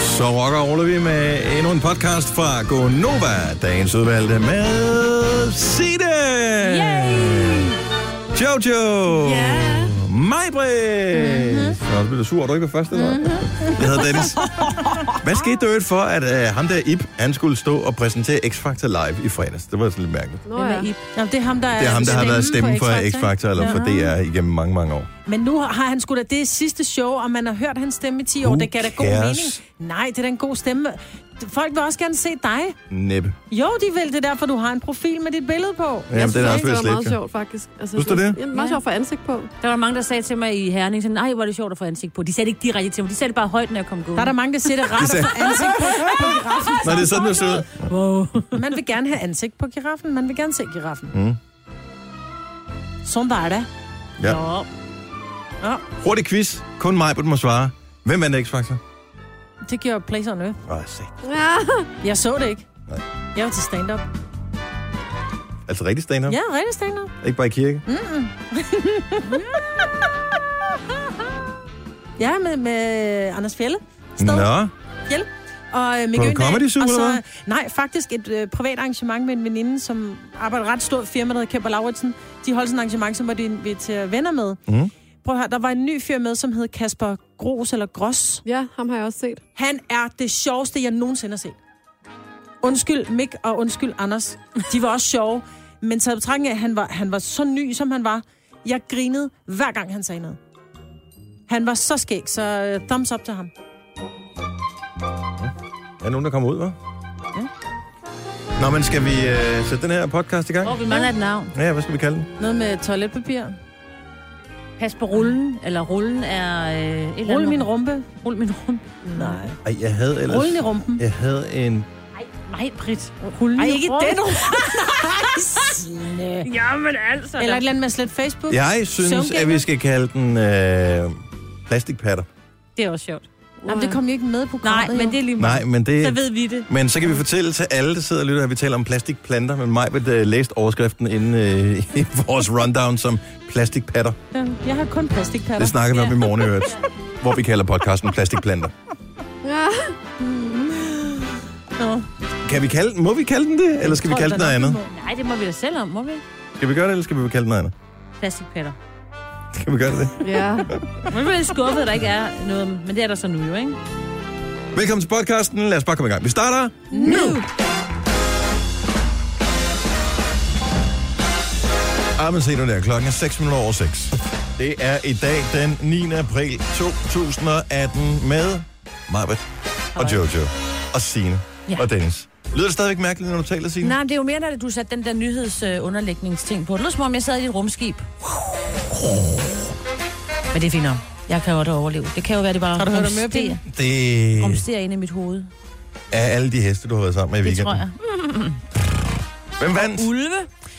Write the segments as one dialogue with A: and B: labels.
A: Så rocker og ruller vi med endnu en podcast fra Gonova, dagens udvalgte med Sida. Jojo.
B: Ja.
A: Majbrit. Mm-hmm. Så blev du sur, at du ikke var først, eller mm-hmm. Jeg hedder Dennis. Hvad skete der i øvrigt for, at øh, ham der Ip, han skulle stå og præsentere X-Factor live i fredags? Det var sådan lidt mærkeligt.
C: Nå, ja.
B: Nå, det er ham, der er,
A: Det er ham, der har været stemmen for X-Factor, eller for
B: Ja.
A: DR igennem mange, mange år.
B: Men nu har han sgu da det sidste show, og man har hørt hans stemme i 10 år.
A: Who
B: Det gav da god
A: cares?
B: mening. Nej, det er da en god stemme. Folk vil også gerne se dig.
A: Næppe.
B: Jo, de vil. Det er derfor, du har en profil med dit billede på.
A: Jamen, den er også
C: det
A: ved
C: var meget
A: slet.
C: sjovt, faktisk. Altså,
A: Synes du det?
C: Jamen, meget
D: Ja.
C: sjovt for ansigt på.
D: Der var mange, der sagde til mig i Herning, sådan, nej, hvor er det sjovt at få ansigt på. De sagde det ikke direkte til mig, de sagde det bare højt, når jeg kom gående.
B: Der er der mange, der siger det rart
A: sagde-
B: at få ansigt på, på giraffen.
A: Nå, det er sådan, det ser ud.
B: Man vil gerne have ansigt på giraffen. Man vil gerne se giraffen.
A: Mm.
B: Sådan var det.
A: Ja.
B: Nå.
A: Hurtig quiz. Kun mig, må svare. Hvem vandt X-Factor?
B: Det gjorde Place on Earth.
A: Åh, sat.
C: Ja.
B: Jeg så det ikke.
A: Nej.
B: Jeg var til stand-up.
A: Altså rigtig stand-up?
B: Ja, rigtig stand-up.
A: Ikke bare i kirke?
B: Ja, med, med Anders Fjelle. Stadig.
A: Nå,
B: Hjælp. Og øh, Mikke
A: Var du
B: Øgendahl,
A: comedy-syg,
B: og så-
A: eller hvad?
B: Nej, faktisk et øh, privat arrangement med en veninde, som arbejder i et ret stort firma, der hedder Kæmper Lauritsen. De holdt sådan et arrangement, som var de inviteret venner med.
A: Mhm.
B: Prøv at høre, der var en ny fyr med, som hed Kasper Gros eller Gros.
C: ja, ham har jeg også set.
B: Han er det sjoveste, jeg nogensinde har set. Undskyld Mik og undskyld Anders. De var også sjove. Men taget i betragtning af, at han var, han var så ny, som han var. Jeg grinede hver gang, han sagde noget. Han var så skæg, så øh, thumbs up til ham.
A: er der nogen, der kommer ud, hva'? Ja. Nå, men skal vi øh, sætte den her podcast i gang?
D: Åh, vi mangler et navn.
A: Ja, hvad skal vi kalde den?
B: Noget med toiletpapir.
D: Pas på rullen, eller rullen er... Øh, et eller andet.
B: Rul min rumpe.
D: Rul min rum.
B: Nej.
A: Ej, jeg havde ellers...
B: Rullen i rumpen.
A: Jeg havde en...
D: Nej, nej, Britt. Rullen
B: Ej,
D: i
B: ikke
D: rumpen.
B: den rumpe.
D: Jamen altså.
B: Eller et eller andet med slet Facebook.
A: Jeg synes,
B: Søvngænger.
A: at vi skal kalde den øh, plastikpatter.
D: Det er også sjovt.
B: Jamen, det kom jo ikke med i
D: Nej,
B: programmet.
D: men det
B: jo.
D: er lige
A: Nej, men det...
D: Så ved vi det.
A: Men så kan vi fortælle til alle, der sidder og lytter, at vi taler om plastikplanter, men mig vil uh, læse overskriften inden uh, i vores rundown som plastikpatter.
B: Jeg har kun plastikpatter.
A: Det snakker vi om i morgen i øvrigt, hvor vi kalder podcasten plastikplanter.
C: Ja.
B: Nå.
A: Kan vi kalde den, må vi kalde den det, eller skal vi
B: Tror
A: kalde den
B: da
A: noget
B: nok, vi
A: andet?
B: må.
D: Nej, det må vi da selv om, må vi ikke?
A: Skal vi gøre det, eller skal vi kalde den noget andet?
D: Plastikpatter.
A: Skal vi gøre det?
C: ja.
D: Man bliver lidt skuffet, at der ikke er noget, men det er der så nu jo, ikke?
A: Velkommen til podcasten. Lad os bare komme i gang. Vi starter
B: Nu!
A: Ah, men se nu der. Klokken er 6 minutter over 6. Det er i dag den 9. april 2018 med Marbet og Jojo og Sine
D: Ja.
A: og Dennis. Lyder det stadigvæk mærkeligt, når du taler, Signe?
D: Nej, men det er jo mere, når du satte den der nyhedsunderlægningsting på. Det lød som om, jeg sad i et rumskib. Men det er fint nok. Jeg kan jo godt overleve. Det kan jo være, det bare
B: Har du hørt om
D: rumsterer-
B: mørpinden?
A: Det
D: rumsterer inde i mit hoved.
A: er alle de heste, du har været sammen med i
D: Det
A: weekenden.
D: tror jeg.
A: Hvem vandt?
D: Ulve?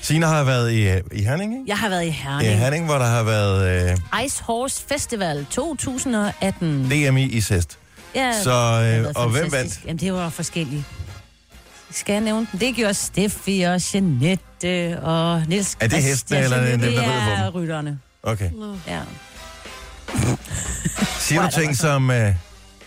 A: Signe har været i, øh, i Herning, ikke?
D: Jeg har været i
A: Ja,
D: Herning.
A: Herning, hvor der har været øh,
D: Ice Horse Festival 2018.
A: DMI i hest.
D: Ja,
A: Så,
D: det har
A: øh,
D: været
A: og hvem
D: fantastisk.
A: vandt?
D: Jamen, det var forskellige. Skal jeg nævne den? Det gjorde Steffi og Jeanette og Niels
A: Er det hestene,
D: Christiansen.
A: eller er det dem, der
D: det
A: rider på dem?
D: er rytterne.
A: Okay.
D: Ja.
A: Siger du ting
D: altså?
A: som, øh,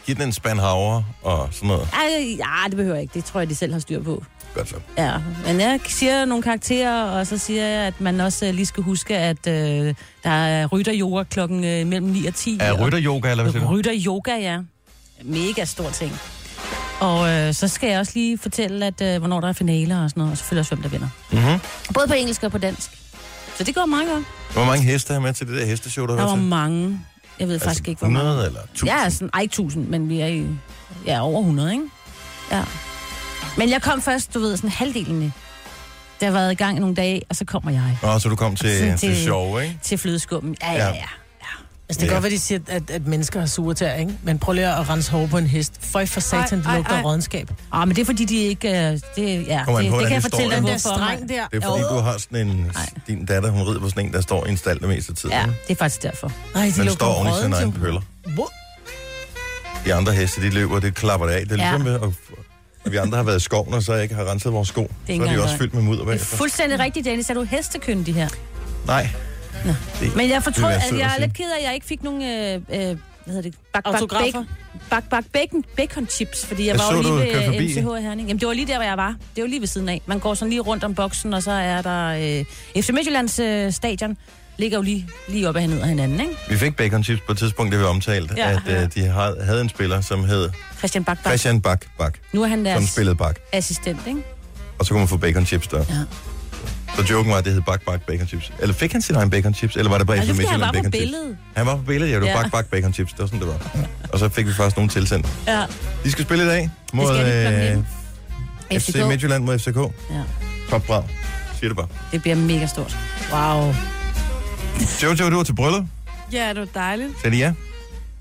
A: giv den en spand havre og sådan noget?
D: Ej, ja, det behøver jeg ikke. Det tror jeg, de selv har styr på.
A: Godt så.
D: Ja, men jeg siger nogle karakterer, og så siger jeg, at man også øh, lige skal huske, at øh, der er rytteryoga klokken øh, mellem 9 og 10.
A: Er rytteryoga, eller hvad siger du?
D: Rytteryoga, ja. Mega stor ting. Og øh, så skal jeg også lige fortælle, at øh, hvornår der er finaler og sådan noget, og selvfølgelig også, hvem der vinder.
A: Mm-hmm.
D: Både på engelsk og på dansk. Så det går meget godt.
A: Hvor mange heste har med til det der hesteshow, du har
D: Der
A: været
D: var
A: til? Altså,
D: mange. Jeg ved faktisk ikke, hvor mange.
A: 100 eller 1000?
D: Jeg er sådan, ej, ikke 1000, men vi er i, ja, over 100, ikke? Ja. Men jeg kom først, du ved, sådan halvdelen. Det har været i gang i nogle dage, og så kommer jeg
A: Nå, så du kom
D: Sådan
A: til, til
D: til-
A: show, ikke?
D: til flødeskummen. Ja, ja,
A: Ja.
D: ja.
B: Altså, det
A: Ja.
B: kan godt være, de siger, at, at mennesker har sure tæer, ikke? Men prøv lige at rense hår på en hest. Føj for satan, det
C: ej,
B: lugter
C: ej.
B: af rådenskab.
D: Ah, men det er fordi, de ikke... øh, Det, ja,
A: Kommer an
D: det,
A: på,
D: det kan
A: hvordan det
D: jeg fortælle
A: står,
D: dig,
B: Den der streng
D: hvorfor. mand.
B: der.
A: Det er fordi,
B: Åh.
A: du har sådan en... Din datter, hun rider på sådan en, der står i en stald det meste af tiden.
D: Ja,
A: Ja.
D: det er faktisk derfor.
B: Ej, de
A: Den
B: lugter
A: står oven i sin
B: råddent,
A: egen
B: jo.
A: pøller.
B: Hvor?
A: De andre heste, de løber, det klapper det af. Det er
D: Ja.
A: ligesom, ja. at, at vi andre har været i skoven, og så ikke har renset vores sko.
D: ikke
A: så er de
D: engang
A: også
D: løgn.
A: fyldt med mudder
D: Det er
A: bagefter.
D: fuldstændig rigtigt, Dennis. Er du hestekyndig her?
A: Nej.
D: Men jeg fortrød,
A: Det vil være
D: at
A: sødt at
D: jeg er
A: sige.
D: lidt ked af, at jeg ikke fik nogen øh, øh, hvad hedder det? Bak, bak,
B: Autografer?
D: bacon, bak, bak, bacon, bacon chips, fordi jeg,
A: Jeg
D: var
A: så,
D: jo
A: du
D: lige
A: kørte
D: ved øh,
A: forbi.
D: MCH i Herning. Jamen, det var lige der, hvor jeg var. Det var lige ved siden af. Man går sådan lige rundt om boksen, og så er der øh, FC Midtjyllands øh, stadion. Ligger jo lige, lige op ad herned ad hinanden, ikke?
A: Vi fik bacon chips på et tidspunkt, det vi omtalte, ja,
D: Ja.
A: at ja. de har- havde en spiller, som hed
D: Christian Bak, bak.
A: Christian Bak Bak,
D: Nu er han
A: som
D: deres
A: spillede Bak.
D: assistent, ikke?
A: Og så kunne man få bacon chips der.
D: Ja.
A: Så joken var, at det hed Bak Bak Bacon Chips. Eller fik han sin egen bacon chips, eller var det bare
D: Og
A: FC
D: det er, fordi han
A: Midtjylland
D: var på
A: bacon chips?
D: billedet.
A: Han var på billedet, ja, det var
D: Ja.
A: Bak Bak Bacon Chips, det var sådan, det var. Og så fik vi faktisk nogle tilsendt.
D: Ja.
A: De skal spille i dag mod
D: skal de klokken
A: øh, FC
D: FCK.
A: Midtjylland mod FCK.
D: Ja.
A: Top brav. Siger det bare.
D: Det bliver mega stort. Wow.
A: Jojo, du var til bryllup.
C: Ja, det var dejligt.
A: Sagde de ja?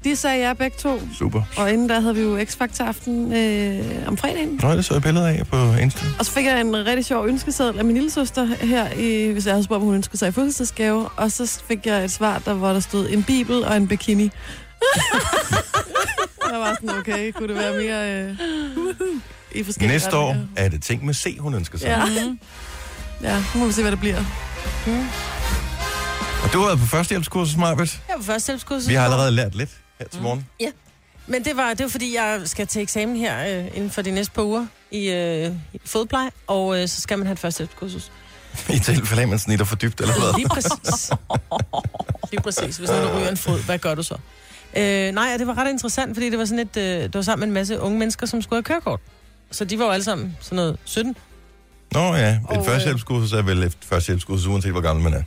C: De sagde ja begge to.
A: Super.
C: Og inden der havde vi jo X-Factor-aften øh, om fredagen.
A: Nå, det så jeg billeder af på Insta.
C: Og så fik jeg en rigtig sjov ønskeseddel af min lille søster her, i, hvis jeg havde spurgt, om hun ønskede sig i fødselsdagsgave. Og så fik jeg et svar, der, hvor der stod en bibel og en bikini. jeg var sådan, okay, kunne det være mere øh, i forskellige
A: Næste år
C: retninger?
A: er det ting med C, hun ønsker sig. Ja.
C: Ja. ja, nu må vi se, hvad det bliver.
B: Mm.
A: Og du har været på førstehjælpskursus, Marbet.
B: Jeg var førstehjælpskursus.
A: Vi har allerede lært lidt her
B: Mm.
A: til morgen.
B: Men det var, det var fordi, jeg skal til eksamen her øh, inden for de næste par uger i, øh, i fodpleje, og øh, så skal man have et førstehjælpskursus.
A: I tilfælde af, at man snitter for dybt, eller hvad?
B: Lige præcis. Lige præcis. Hvis nu du ryger en fod, hvad gør du så? Øh, nej, og det var ret interessant, fordi det var sådan et, øh, det var sammen med en masse unge mennesker, som skulle have kørekort. Så de var jo alle sammen sådan noget 17.
A: Nå ja,
B: Og,
A: et
B: øh,
A: førstehjælpskursus er vel et førstehjælpskursus, uanset hvor gammel man er.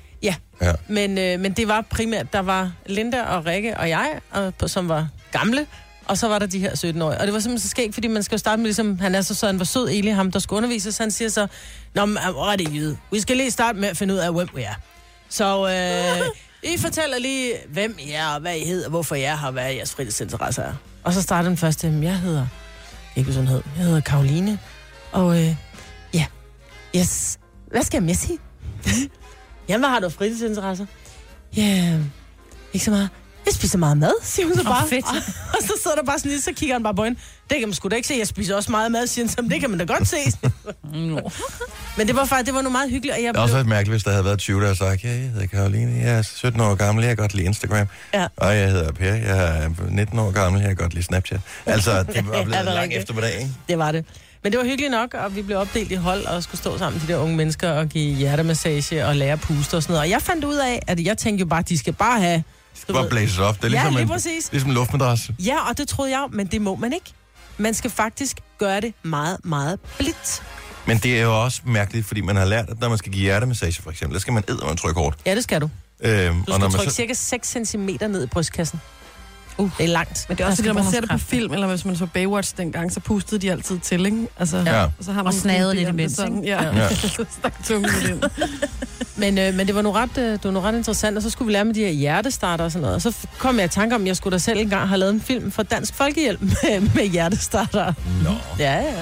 B: Men, øh, men det var primært, der var Linda og Rikke og jeg, og, på- som var gamle, og så var der de her 17-årige. Og det var simpelthen så skægt, fordi man skal jo starte med, ligesom, han er så sød, han var sød, Eli, ham der skulle undervise, så han siger så, Nå, men øh, hvor er det jyde? Vi skal lige starte med at finde ud af, hvem vi er. Så øh, I fortæller lige, hvem I er, og hvad I hedder, hvorfor jeg har været jeres fritidsinteresser er. Og så starter den første, "Jamen, jeg hedder, ikke hvad hun hed, jeg hedder Karoline, og øh, ja, yes, hvad skal jeg med sige? Jamen, hvad har du af fritidsinteresser? Ja, yeah, ikke så meget. Jeg spiser meget mad, siger hun så bare.
D: fedt.
B: Og så sidder der bare sådan lidt, så kigger han bare på hende. Det kan man sgu da ikke se, jeg spiser også meget mad, siger han. "Jamen, Det kan man da godt se.
D: Nå.
B: Men det var faktisk, det var noget meget hyggeligt, og jeg
A: Det havde også
B: blev...
A: været mærkeligt, hvis der havde været 20, der havde sagt, ja, jeg hedder Karoline, jeg er 17 år gammel, jeg kan godt lide Instagram.
B: Ja.
A: Og jeg hedder Per, jeg er 19 år gammel, jeg kan godt lide Snapchat. Altså, det var
B: Ja,
A: blevet
B: det er
A: en lang
B: rigtigt.
A: eftermiddag, ikke?
B: Det var det. Men det var hyggeligt nok, og vi blev opdelt i hold og skulle stå sammen, de der unge mennesker, og give hjertemassage og lære at puste og sådan noget. Og jeg fandt ud af, at jeg tænkte jo bare, de skal bare have... du
A: Bare
B: ved-
A: blæses op. Det er
B: Ja,
A: ligesom,
B: lige
A: en,
B: præcis.
A: ligesom en luftmadras.
B: Ja, og det troede jeg, men det må man ikke. Man skal faktisk gøre det meget, meget blidt.
A: Men det er jo også mærkeligt, fordi man har lært, at når man skal give hjertemassage, for eksempel, der skal man eddermame trykke hårdt.
B: Ja, det skal du.
A: Øhm,
B: Du skal
A: man
B: trykke så... cirka 6 cm ned i brystkassen. Uh, det er langt.
C: Men det er også
D: Der
C: fordi, når
D: skal
C: man ser det på
D: bonus-kræfter.
C: film, eller hvis man så Baywatch dengang, så pustede de altid til, ikke? Altså,
A: Ja.
C: og så har man
D: Og
C: sådan
D: snagede
C: en
D: lidt
C: bil,
D: imens,
C: sådan,
D: ikke?
C: Ja,
A: Ja.
C: ja. så stak tungen lidt ind.
B: Men, øh, men det var nu ret, øh, det var nu ret interessant, og så skulle vi lære med de her hjertestarter og sådan noget. Og så f- kom jeg i tanke om, at jeg skulle da selv engang have lavet en film for Dansk Folkehjælp med, med hjertestarter.
A: Nå.
B: Ja, ja.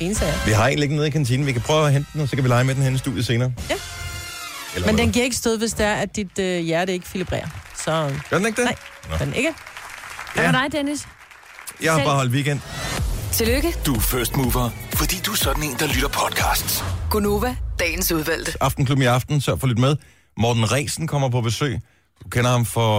B: En sag.
A: Vi har en liggende nede i kantinen. Vi kan prøve at hente den, og så kan vi lege med den hen i studiet senere.
B: Ja.
A: Eller
B: Men
A: hvad?
B: den giver ikke stød, hvis det er, at dit øh, hjerte ikke filibrerer. Så
A: Gør den ikke det?
B: Nej. den ikke.
D: Hvad med dig, Dennis?
A: Jeg har
D: Selv.
A: bare holdt weekend.
E: Tillykke,
F: Du er first mover, fordi du er sådan en, der lytter podcasts.
E: Gunova, dagens udvalgte.
A: Aftenklub i aften. Sørg for lidt med. Morten Resen kommer på besøg. Du kender ham for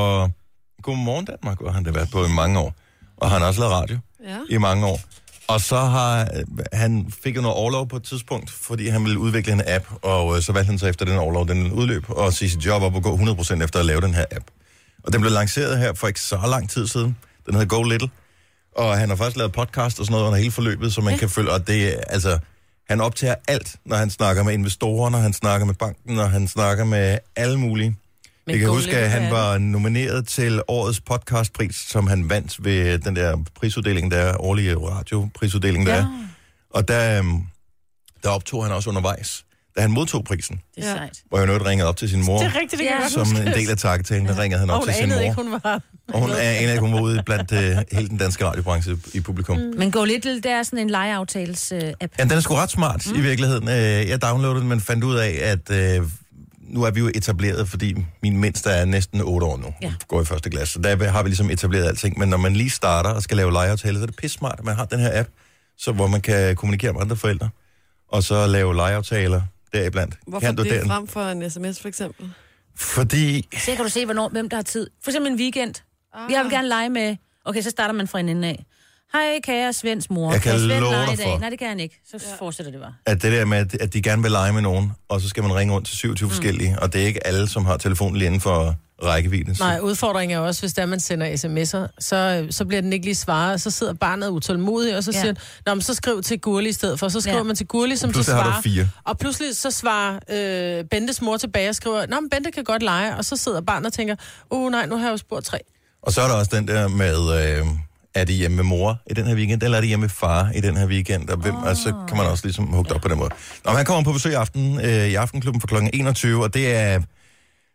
A: Godmorgen Danmark, hvor han har været på i mange år. Og han har også lavet radio
C: Ja.
A: i mange år. Og så har øh, han fik jo noget overlov på et tidspunkt, fordi han ville udvikle en app, og øh, så valgte han så efter den overlov, den udløb, og sige sit job op og gå 100% efter at lave den her app. Og den blev lanceret her for ikke så lang tid siden. Den hedder Go Little. Og han har faktisk lavet podcast og sådan noget under hele forløbet, så man ja. kan følge, og det er, altså, han optager alt, når han snakker med investorer, når han snakker med banken, når han snakker med alle mulige. Men jeg kan
B: Go
A: huske,
B: Little,
A: at han
B: hvad er
A: var nomineret til årets podcastpris, som han vandt ved den der prisuddeling, der er, årlige radioprisuddeling, der ja. er. Og der, øhm, der optog han også undervejs, da han modtog prisen,
D: Det er
C: Ja.
D: sejt.
A: hvor jeg nødt ringede op til sin mor,
B: Det er rigtigt, det kan
D: Ja.
B: jeg godt
A: som
B: huske.
A: en del af takketalen, der ringede han op
B: Og hun
A: til sin mor.
B: anede ikke, hun var...
A: Og hun er en af, hun var ude blandt øh, hele den danske radiobranche i publikum. Mm.
D: Men Go Little, det er sådan en øh, legeaftales-app.
A: Ja, den er sgu ret smart mm. i virkeligheden. Øh, Jeg downloadede den, men fandt ud af, at øh, nu er vi jo etableret, fordi min mindste er næsten 8 år nu.
D: Ja.
A: Går i første klasse. Så der har vi ligesom etableret alting. Men når man lige starter og skal lave legeaftaler, så er det pisse smart, at man har den her app, så, hvor man kan kommunikere med andre forældre. Og så lave legeaftaler deriblandt.
C: Hvorfor
A: kan du
C: det
A: den?
C: frem for en sms, for eksempel?
A: Fordi
C: Ah.
D: Så kan du se, hvornår, hvem der har tid. For eksempel en weekend. Jeg vil gerne lege med Okay, så starter man fra en ende af. Hej, kære Svends mor.
A: Jeg kan
D: Kan Svend
A: love
D: lege
A: dig
D: i dag?
A: for-
D: Nej, det kan han ikke. Så ja. fortsætter det bare.
A: at det der med, at- at de gerne vil lege med nogen, og så skal man ringe rundt til 27 mm. forskellige, og det er ikke alle, som har telefonen lige inden for rækkevidde. Så-
B: Nej, udfordringen er også, hvis det er, man sender sms'er, så, så bliver den ikke lige svaret, så sidder barnet utålmodigt, og så
D: Ja.
B: ja. siger den, Nå, men så skriv til Gurli i stedet for. Så skriver
D: Ja.
B: ja. man til Gurli, som så
A: Pludselig har du
B: svarer.
A: fire.
B: Og pludselig så svarer øh, Bentes mor tilbage og skriver, Nå, men Bente kan godt lege, og så sidder barnet og tænker, uh nej, nu har jeg jo spurgt tre.
A: Og så er der også den der med, øh, er det hjemme med mor i den her weekend, eller er det hjemme med far i den her weekend, og, hvem, oh. og så kan man også ligesom hugge ja. op på den måde. Nå, men han kommer på besøg i aften øh, i Aftenklubben for kl. 21, og det er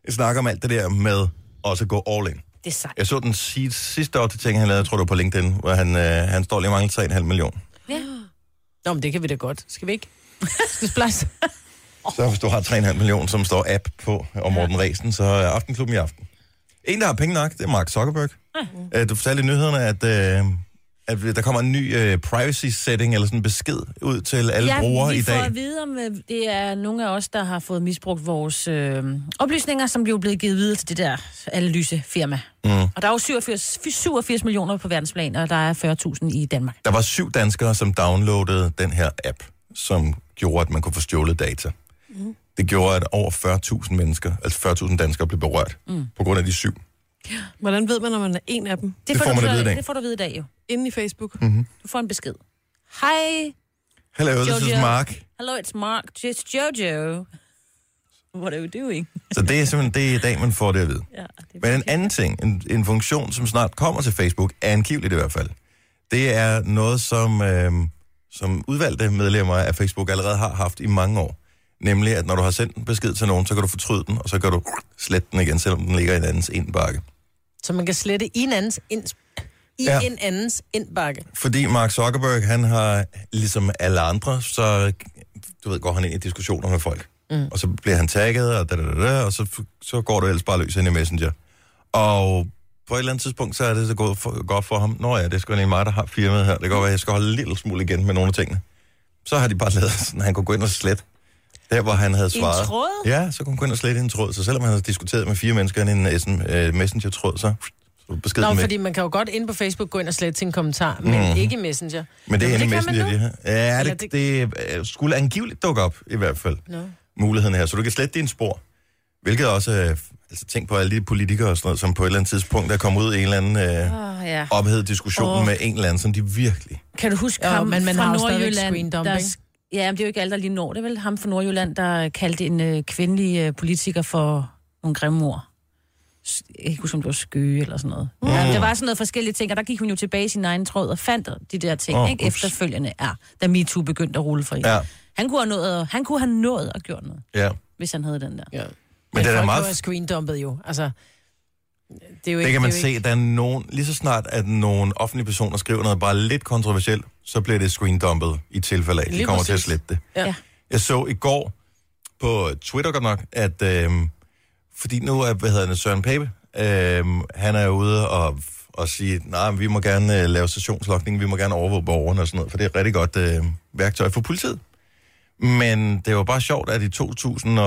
A: et snak om alt det der med også at gå all in.
D: Det er sejt.
A: Jeg så den si- sidste år til ting, han lavede, jeg tror det var på LinkedIn, hvor han, øh, han står lige og mangler 3,5 millioner.
B: Nå, men det kan vi da godt. Skal vi ikke? Skal vi splejse?
A: Så hvis du har 3,5 millioner, som står app på, og Morten Ræsen, så er Aftenklubben i aften. En, der har penge nok, det er Mark Zuckerberg. Mm. Du fortalte i nyhederne, at, øh, at der kommer en ny øh, privacy-setting, eller sådan en besked ud til alle ja, brugere
D: vi
A: i
D: får
A: dag.
D: at vide, om øh, det er nogle af os, der har fået misbrugt vores øh, oplysninger, som jo er blevet givet videre til det der analysefirma. Mm. Og der er jo 87, 87 millioner på verdensplan, og der er 40.000 i Danmark.
A: Der var syv danskere, som downloadede den her app, som gjorde, at man kunne få stjålet data. Mm. Det gjorde, at over 40.000 mennesker, altså 40.000 danskere, blev berørt mm. på grund af de syv.
C: Hvordan ved man, når man er en af dem?
A: Det får
D: du
A: man at
D: så-
A: vide i dag.
D: Det får du at vide i dag jo.
C: Inde i Facebook?
A: Mm.
D: Du får en besked. Hej,
A: Hello, this is
D: Jojo.
A: Mark.
D: hello, it's Mark, it's Jojo. What are you doing?
A: Så det er simpelthen det er i dag, man får det at vide.
D: Ja, det
A: Men en anden ting, en, en funktion, som snart kommer til Facebook, er angiveligt i hvert fald, det er noget, som, øh, som udvalgte medlemmer af Facebook allerede har haft i mange år. Nemlig, at når du har sendt en besked til nogen, så kan du fortryde den, og så kan du slette den igen, selvom den ligger i en andens indbakke.
B: Så man kan slette i en andens, ind, i
A: Ja.
B: ja. en andens indbakke.
A: Fordi Mark Zuckerberg, han har, ligesom alle andre, så du ved, går han ind i diskussioner med folk. Mm. Og så bliver han tagget, og, da, da, da, da, og så, så går det ellers bare løs ind i Messenger. Og på et eller andet tidspunkt, så er det så gået for, godt for ham. Nå ja, det er sgu egentlig mig, der har firmaet her. Det kan godt være, at jeg skal holde en lille smule igen med nogle af tingene. Så har de bare lavet sådan, at han kunne gå ind og slet. Der, hvor han havde svaret.
D: tråd?
A: Ja, så kunne han gå ind og slette i en tråd. Så selvom han havde diskuteret med fire mennesker i en øh, sådan, øh, messenger-tråd, så, så besked
B: Nå,
A: med.
B: fordi man kan jo godt ind på Facebook gå ind og slette sin kommentar, men mm. ikke i Messenger.
A: Men det er
B: Nå,
A: inde i
B: kan
A: Messenger,
B: man nu.
A: det her. Ja,
B: Eller
A: det, det øh, skulle angiveligt dukke op, i hvert fald,
B: Nå.
A: muligheden her. Så du kan slette dine spor. Hvilket også, øh, altså tænk på alle de politikere og sådan noget, som på et eller andet tidspunkt er kommet ud i en eller anden
B: Ah,
A: øh,
D: Åh, Ah, ja.
A: ophedet diskussion
D: Åh.
A: med en eller anden, som de virkelig...
D: Kan du huske
B: Jo,
D: ham
B: men man
D: fra
B: har jo stadigvæk
D: Nordjylland?
B: screen dump,
D: der,
B: ikke?
D: ja, men det er jo ikke alle, der lige når det, vel? Ham fra Nordjylland, der kaldte en øh, kvindelig øh, politiker for nogle grimme ord. S- Jeg kan ikke huske, om det var skøge eller sådan noget. Mm. Ja, der var sådan noget forskellige ting, og der gik hun jo tilbage i sin egen tråd og fandt de der ting,
A: Åh,
D: oh, ikke?
A: ups.
D: Efterfølgende, ja, da MeToo begyndte at rulle fri.
A: Ja,
D: Han, kunne have nået, han kunne have nået at gjort noget,
A: ja.
D: hvis han havde den der.
B: Ja.
A: Men det er da
B: folk
A: meget...
B: jo screendumpet jo. Altså, det, er jo
A: Det kan man
B: det er jo
A: se, der er nogen, lige så snart, at nogle offentlige personer skriver noget bare lidt kontroversielt, så bliver det screendumpet i tilfælde af, at de
B: Lige
A: kommer til at
B: præcis.
A: slette det.
B: Ja.
A: Jeg så i går på Twitter godt nok, at øh, fordi nu er, hvad hedder han, Søren Pape, øh, han er ude og, og sige, nej, men vi må gerne øh, lave stationslokning, vi må gerne overvåge borgerne og sådan noget, for det er et rigtig godt øh, værktøj for politiet. Men det var bare sjovt, at i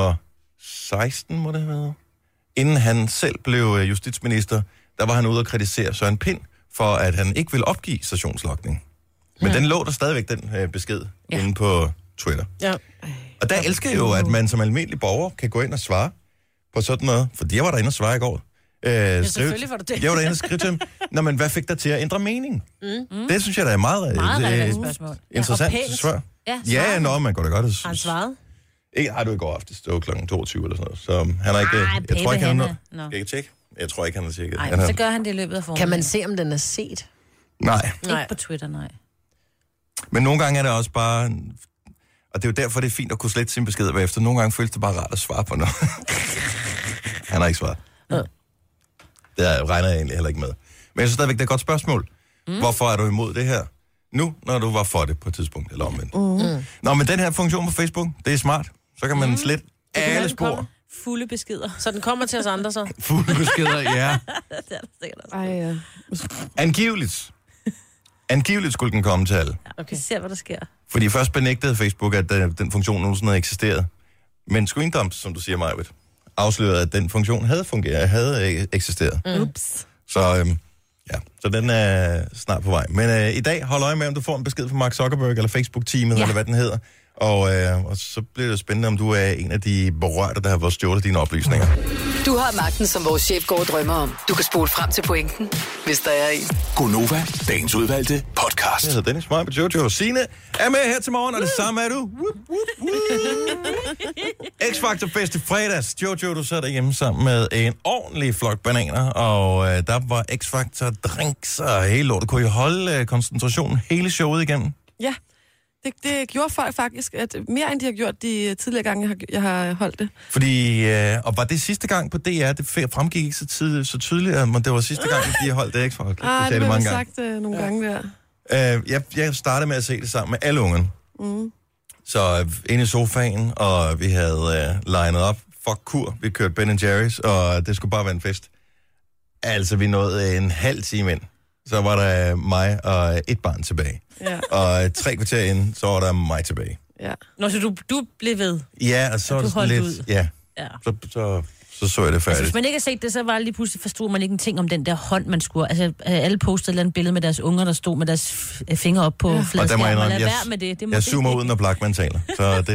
A: 2016, må det have været, inden han selv blev øh, justitsminister, der var han ude og kritisere Søren Pind for, at han ikke ville opgive stationslokning. Men den lå der stadigvæk, den øh, besked, ja. inde på Twitter.
B: Ja.
A: Og der elsker jeg jo, at man som almindelig borger kan gå ind og svare på sådan noget. For jeg var derinde og svare i går. Øh, ja,
B: selvfølgelig var du det.
A: Jeg var derinde og skrive til dem, Nå, men hvad fik dig til at ændre mening? Mm. Det synes jeg, der er meget,
D: Meget
A: øh,
D: relevant spørgsmål.
A: interessant
B: Ja, og pænt.
A: svar.
D: Ja,
A: Ja, ja, nå, man går da godt.
B: Har han svaret?
A: Ikke, har du i går aftes, det var kl. 22 eller sådan noget. Så um, han har ikke...
D: Ej,
A: jeg tror
D: Pape,
A: ikke, han
D: han
A: har
D: er-
A: noget.
D: Nå.
A: Skal jeg ikke tjekke? Jeg tror ikke, han har tjekket.
D: Nej,
A: Han har-
D: så gør han det i løbet af
B: Kan
D: formiddagen.
B: man se, om den er set?
A: Nej,
D: Ikke på Twitter, nej.
A: men nogle gange er det også bare... Og det er jo derfor, det er fint at kunne slette sine beskeder bagefter. Nogle gange føles det bare rart at svare på noget. han har ikke svaret.
D: Nå.
A: Det regner jeg egentlig heller ikke med. Men jeg synes stadigvæk, det er et godt spørgsmål. Mm. Hvorfor er du imod det her? Nu, når du var for det på et tidspunkt, eller omvendt. Mm. Nå, men den her funktion på Facebook, det er smart. Så kan man mm. slette alle spor.
D: Fulde beskeder.
B: Så den kommer til os andre så?
A: Fulde beskeder, ja.
D: det er der sikkert også.
C: Ej, ja.
A: Angiveligt. Angiveligt skulle den komme til alle.
D: Okay. Vi ser, hvad der sker.
A: Fordi først benægtede Facebook, at øh, den, den funktion nogensinde havde eksisteret. Men Screendump, som du siger, Majbet, afslørede, at den funktion havde fungeret, havde øh, eksisteret. Mm.
D: Ups.
A: Så øhm, Ja, så den er snart på vej. Men øh, i dag, hold øje med, om du får en besked fra Mark Zuckerberg eller Facebook-teamet, ja. eller hvad den hedder. Og, øh, og så bliver det spændende, om du er en af de berørte, der har fået stjålet dine oplysninger.
G: Du har magten, som vores chef går og drømmer om. Du kan spole frem til pointen, hvis der er en.
F: Gonova, dagens udvalgte podcast.
A: Jeg hedder Dennis Meyer på Jojo. Signe er med her til morgen, og det samme er du. Woop, woop, woop. X-Factor Fest i fredags. Jojo, du sad derhjemme sammen med en ordentlig flok bananer, og øh, der var X-Factor drinks og hele lortet. Kunne I holde øh, koncentrationen hele showet igennem?
C: Ja, det, det gjorde folk faktisk, at mere end de har gjort de tidligere gange, jeg har, jeg har holdt det.
A: Fordi, øh, og var det sidste gang på DR, det fe- fremgik ikke så, tid, så tydeligt, at men det var sidste gang, at de holdt det, ikke? For, okay,
C: Ah, det blev vist sagt øh, nogle ja. gange der.
A: Øh, jeg, jeg startede med at se det sammen med alle ungerne. Mm. Så øh, inde i sofaen, og vi havde øh, legnet op. Fuck kur, vi kørte Ben Jerry's, og det skulle bare være en fest. Altså, vi nåede en halv time ind. Så var der mig og et barn tilbage.
C: Ja,
A: Og øh, tre kvarter ind, så var der mig tilbage.
C: ja.
D: Nå, så du, du blev ved.
A: Ja, og så
D: Ja,
A: var
D: du
A: det sådan
D: holdt
A: lidt...
D: ud.
A: Ja,
D: Ja.
A: så, så, så så jeg det
D: Altså,
A: færdigt.
D: hvis man ikke har set det, så var det lige pludselig forstod man ikke en ting om den der hånd, man skulle... Altså, øh, alle postede et eller andet billede med deres unger, der stod med deres f- øh, fingre op på ja.
A: Og der må jeg
D: fladskærmen. Lad
A: indrømme, jeg,
D: være med det. det må
A: jeg zoomer ud, når Blackman taler. Så det,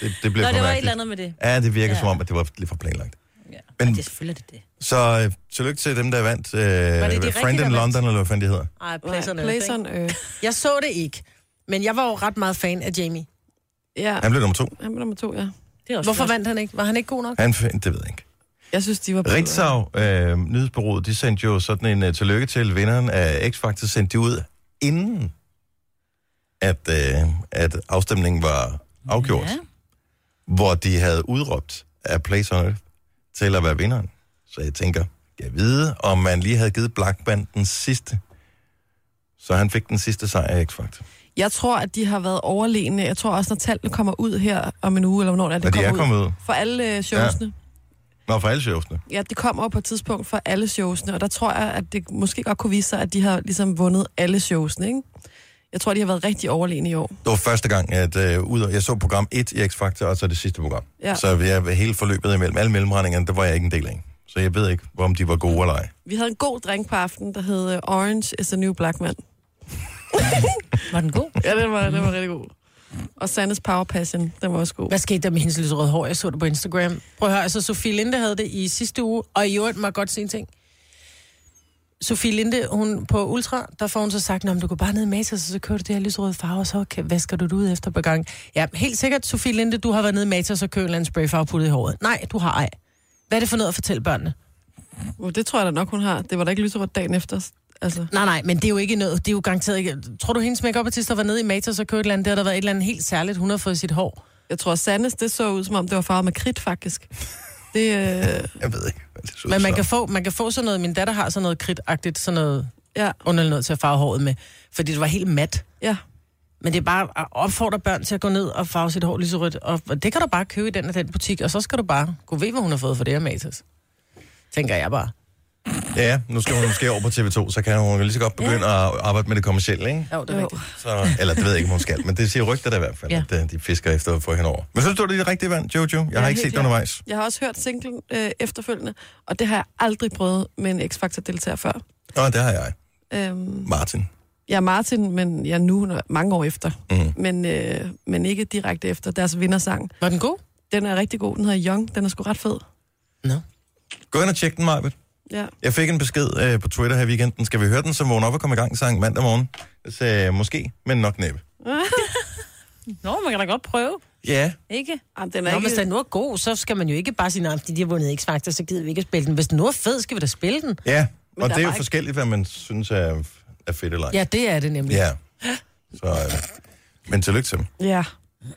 A: det, det bliver for
D: Nå, det var et
A: mærkeligt.
D: eller andet med det.
A: Ja, det virker ja.
D: Ja.
A: som om, at det var lidt for planlagt.
D: Ja.
A: Men-
D: Men... Det er selvfølgelig det. det.
A: Så øh, tillykke til dem, der vandt. Øh,
B: de
A: det
B: rigtige,
A: Friend
B: der
A: in
B: vandt?
A: London, eller hvad fanden de hedder.
B: Ej,
C: Place
B: Pleasant
C: on
B: Earth,
C: Earth.
B: ikke? Jeg så det ikke, men jeg var jo ret meget fan af Jamie.
C: Ja,
A: Han blev nummer to.
C: han var nummer to, ja.
D: det er også
B: Hvorfor
D: flot.
B: vandt han ikke? Var han ikke god nok?
A: Han, fandt- det ved jeg ikke.
C: Jeg synes, de var bedre.
A: Ritzau, øh, nyhedsbureauet, de sendte jo sådan en uh, tillykke til vinderen af X-Factor, sendte de ud inden, at, øh, at afstemningen var afgjort.
D: Ja.
A: Hvor de havde udråbt af Place on Earth til at være vinderen. Så jeg tænker, jeg vide, om man lige havde givet Blackman den sidste. Så han fik den sidste sejr af X-Factor.
C: Jeg tror, at de har været overlegne. Jeg tror også, når tallene kommer ud her om en uge, eller hvornår det er,
A: Når de
C: det kommer
A: er
C: ud.
A: kommet ud.
C: For alle øh, showsene.
A: Nå, for alle showsene.
C: Ja. ja, det kommer jo på et tidspunkt for alle showsene, og der tror jeg, at det måske godt kunne vise sig, at de har ligesom vundet alle showsene, ikke? Jeg tror, de har været rigtig overlegne i år.
A: Det var første gang, at øh, ud og, jeg så program 1 i X-Factor, og så det sidste program. Ja.
C: Ja.
A: Så jeg, hele forløbet imellem alle mellemregningerne, der var jeg ikke en del af. Så jeg ved ikke, om de var gode eller ej.
C: Vi havde en god drink på aftenen, der hed øh, Orange is the New Black Man.
D: Var den god?
C: Ja, den var, den var rigtig god. Og Sandes Power Passion, den var også god.
B: Hvad skete der med hendes lyserøde hår? Jeg så det på Instagram. Prøv at høre, altså Sofie Linde havde det i sidste uge, og i øvrigt må jeg godt sige en ting. Sofie Linde, hun på Ultra, der får hun så sagt, om du går bare ned i Matas, og så kører du det her lyserøde farve, og så kan, vasker du det ud efter på gang. Ja, helt sikkert, Sofie Linde, du har været nede i Matas og købt en eller anden sprayfarve puttet i håret. Nej, du har ej. Hvad er det for noget at fortælle børnene?
C: Well, det tror jeg da nok, hun har. Det var da ikke lyserødt dagen efter. Altså,
B: Nej, nej, men det er jo ikke noget. Det er jo garanteret ikke. Tror du, hendes makeup artist var nede i Matas og købte et eller andet? Der har der været et eller andet helt særligt, hun har fået sit hår.
C: jeg tror, Sandes, det så ud, som om det var farvet med kridt, faktisk. Det, øh,
A: Jeg ved ikke, hvad det så ud
B: Men man
A: som.
B: kan, få, man kan få sådan noget, min datter har sådan noget kridtagtigt, sådan noget
C: ja,
B: underligt noget til at farve håret med, fordi det var helt mat.
C: ja.
B: Men det er bare at opfordre børn til at gå ned og farve sit hår lyserødt, og og det kan du bare købe i den og den butik, og så skal du bare gå ved, hvad hun har fået for det her Matas. Tænker jeg bare.
A: Ja, nu skal hun måske over på TV2, så kan hun lige så godt begynde ja. at arbejde med det kommercielle, ikke?
B: Jo, det er
C: Jo.
B: rigtigt.
A: Så, eller det ved jeg ikke, om hun skal, men det siger rygter der i hvert fald, ja.
D: Ja.
A: at øh, de fisker efter at få hende over. Men synes du, det er det rigtige vand, Jojo? Jeg ja, har
C: Ja,
A: ikke
C: helt
A: set det
C: klart.
A: undervejs.
C: Jeg har også hørt singlen øh, efterfølgende, og det har jeg aldrig prøvet med en X-Factor-deltager før.
A: Nå, det har jeg.
C: Øhm,
A: Martin.
C: jeg er Martin, men jeg er nu når- mange år efter.
A: Mhm.
C: Men, øh, men ikke direkte efter deres vindersang.
B: Var den god?
C: Den er rigtig god. Den hedder Young. Den er sgu ret fed.
A: Gå ind og tjek den, Marvitt.
C: Ja.
A: Jeg fik en besked øh, på Twitter her i weekenden. Skal vi høre den, så vågn op og komme i gang sang mandag morgen? Jeg sagde, måske, men nok næppe.
D: Nå, man kan da godt prøve,
A: Ja,
D: ikke?
C: Jamen, den er
B: Nå,
C: ikke...
B: hvis den nu er god, så skal man jo ikke bare sige, nej, fordi de har vundet X-Factor, så gider vi ikke at spille den. Hvis den nu er fed, skal vi da spille den.
A: ja. og
C: der
A: det er
C: var
A: jo
C: ikke-
A: forskelligt, hvad man synes er, er fedt eller ej.
B: Ja, det er det nemlig.
A: ja. Så, øh, men tillykke til dem.
C: Ja.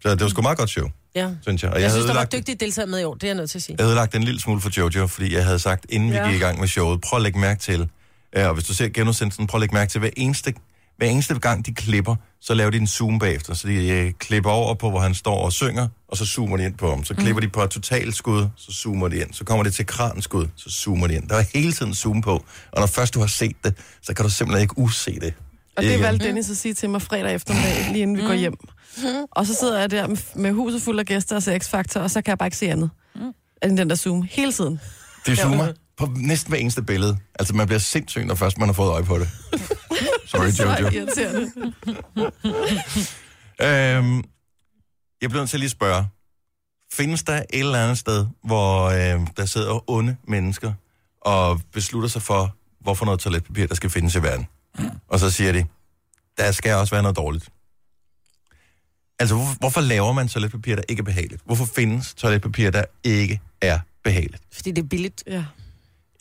A: Så det var sgu meget godt show,
B: ja.
A: synes jeg. Og jeg,
B: Jeg
A: havde
B: synes, der var
A: ødelagt-
B: dygtige deltagere med i år, det er jeg nødt til at sige.
A: Jeg havde lagt en lille smule for Jojo, fordi jeg havde sagt, inden ja. vi
C: Ja.
A: gik i gang med showet, prøv at lægge mærke til, ja, og hvis du ser genudsendelsen, prøv at lægge mærke til, hver eneste, hver eneste gang de klipper, så laver de en zoom bagefter. Så de øh, klipper over på, hvor han står og synger, og så zoomer de ind på ham. Så klipper mm. de på et totalskud, så zoomer de ind. Så kommer det til kranskud, så zoomer de ind. Der er hele tiden zoom på, og når først du har set det, så kan du simpelthen ikke use det.
C: Og det
A: Ikke?
C: valgte
B: Mm.
C: Dennis at sige til mig fredag eftermiddag, lige inden vi går hjem. Og så sidder jeg der med- med huset
B: Mm.
C: fuld af gæster og ser X-Factor, og så kan jeg bare ikke se andet end den der Zoom hele tiden.
A: De zoomer på næsten hver eneste billede. Altså, man bliver sindssyg, når først man har fået øje på det. Sorry, Jojo.
C: Så irriterende.
A: Øhm, jeg bliver nødt til at lige spørge. Findes der et eller andet sted, hvor øh, der sidder onde mennesker og beslutter sig for, hvorfor noget toiletpapir, der skal findes i verden? Og så siger de, der skal også være noget dårligt. Altså, hvorfor, hvorfor laver man toiletpapir, der ikke er behageligt? Hvorfor findes toiletpapir, der ikke er behageligt?
B: Fordi det er billigt.
C: Ja.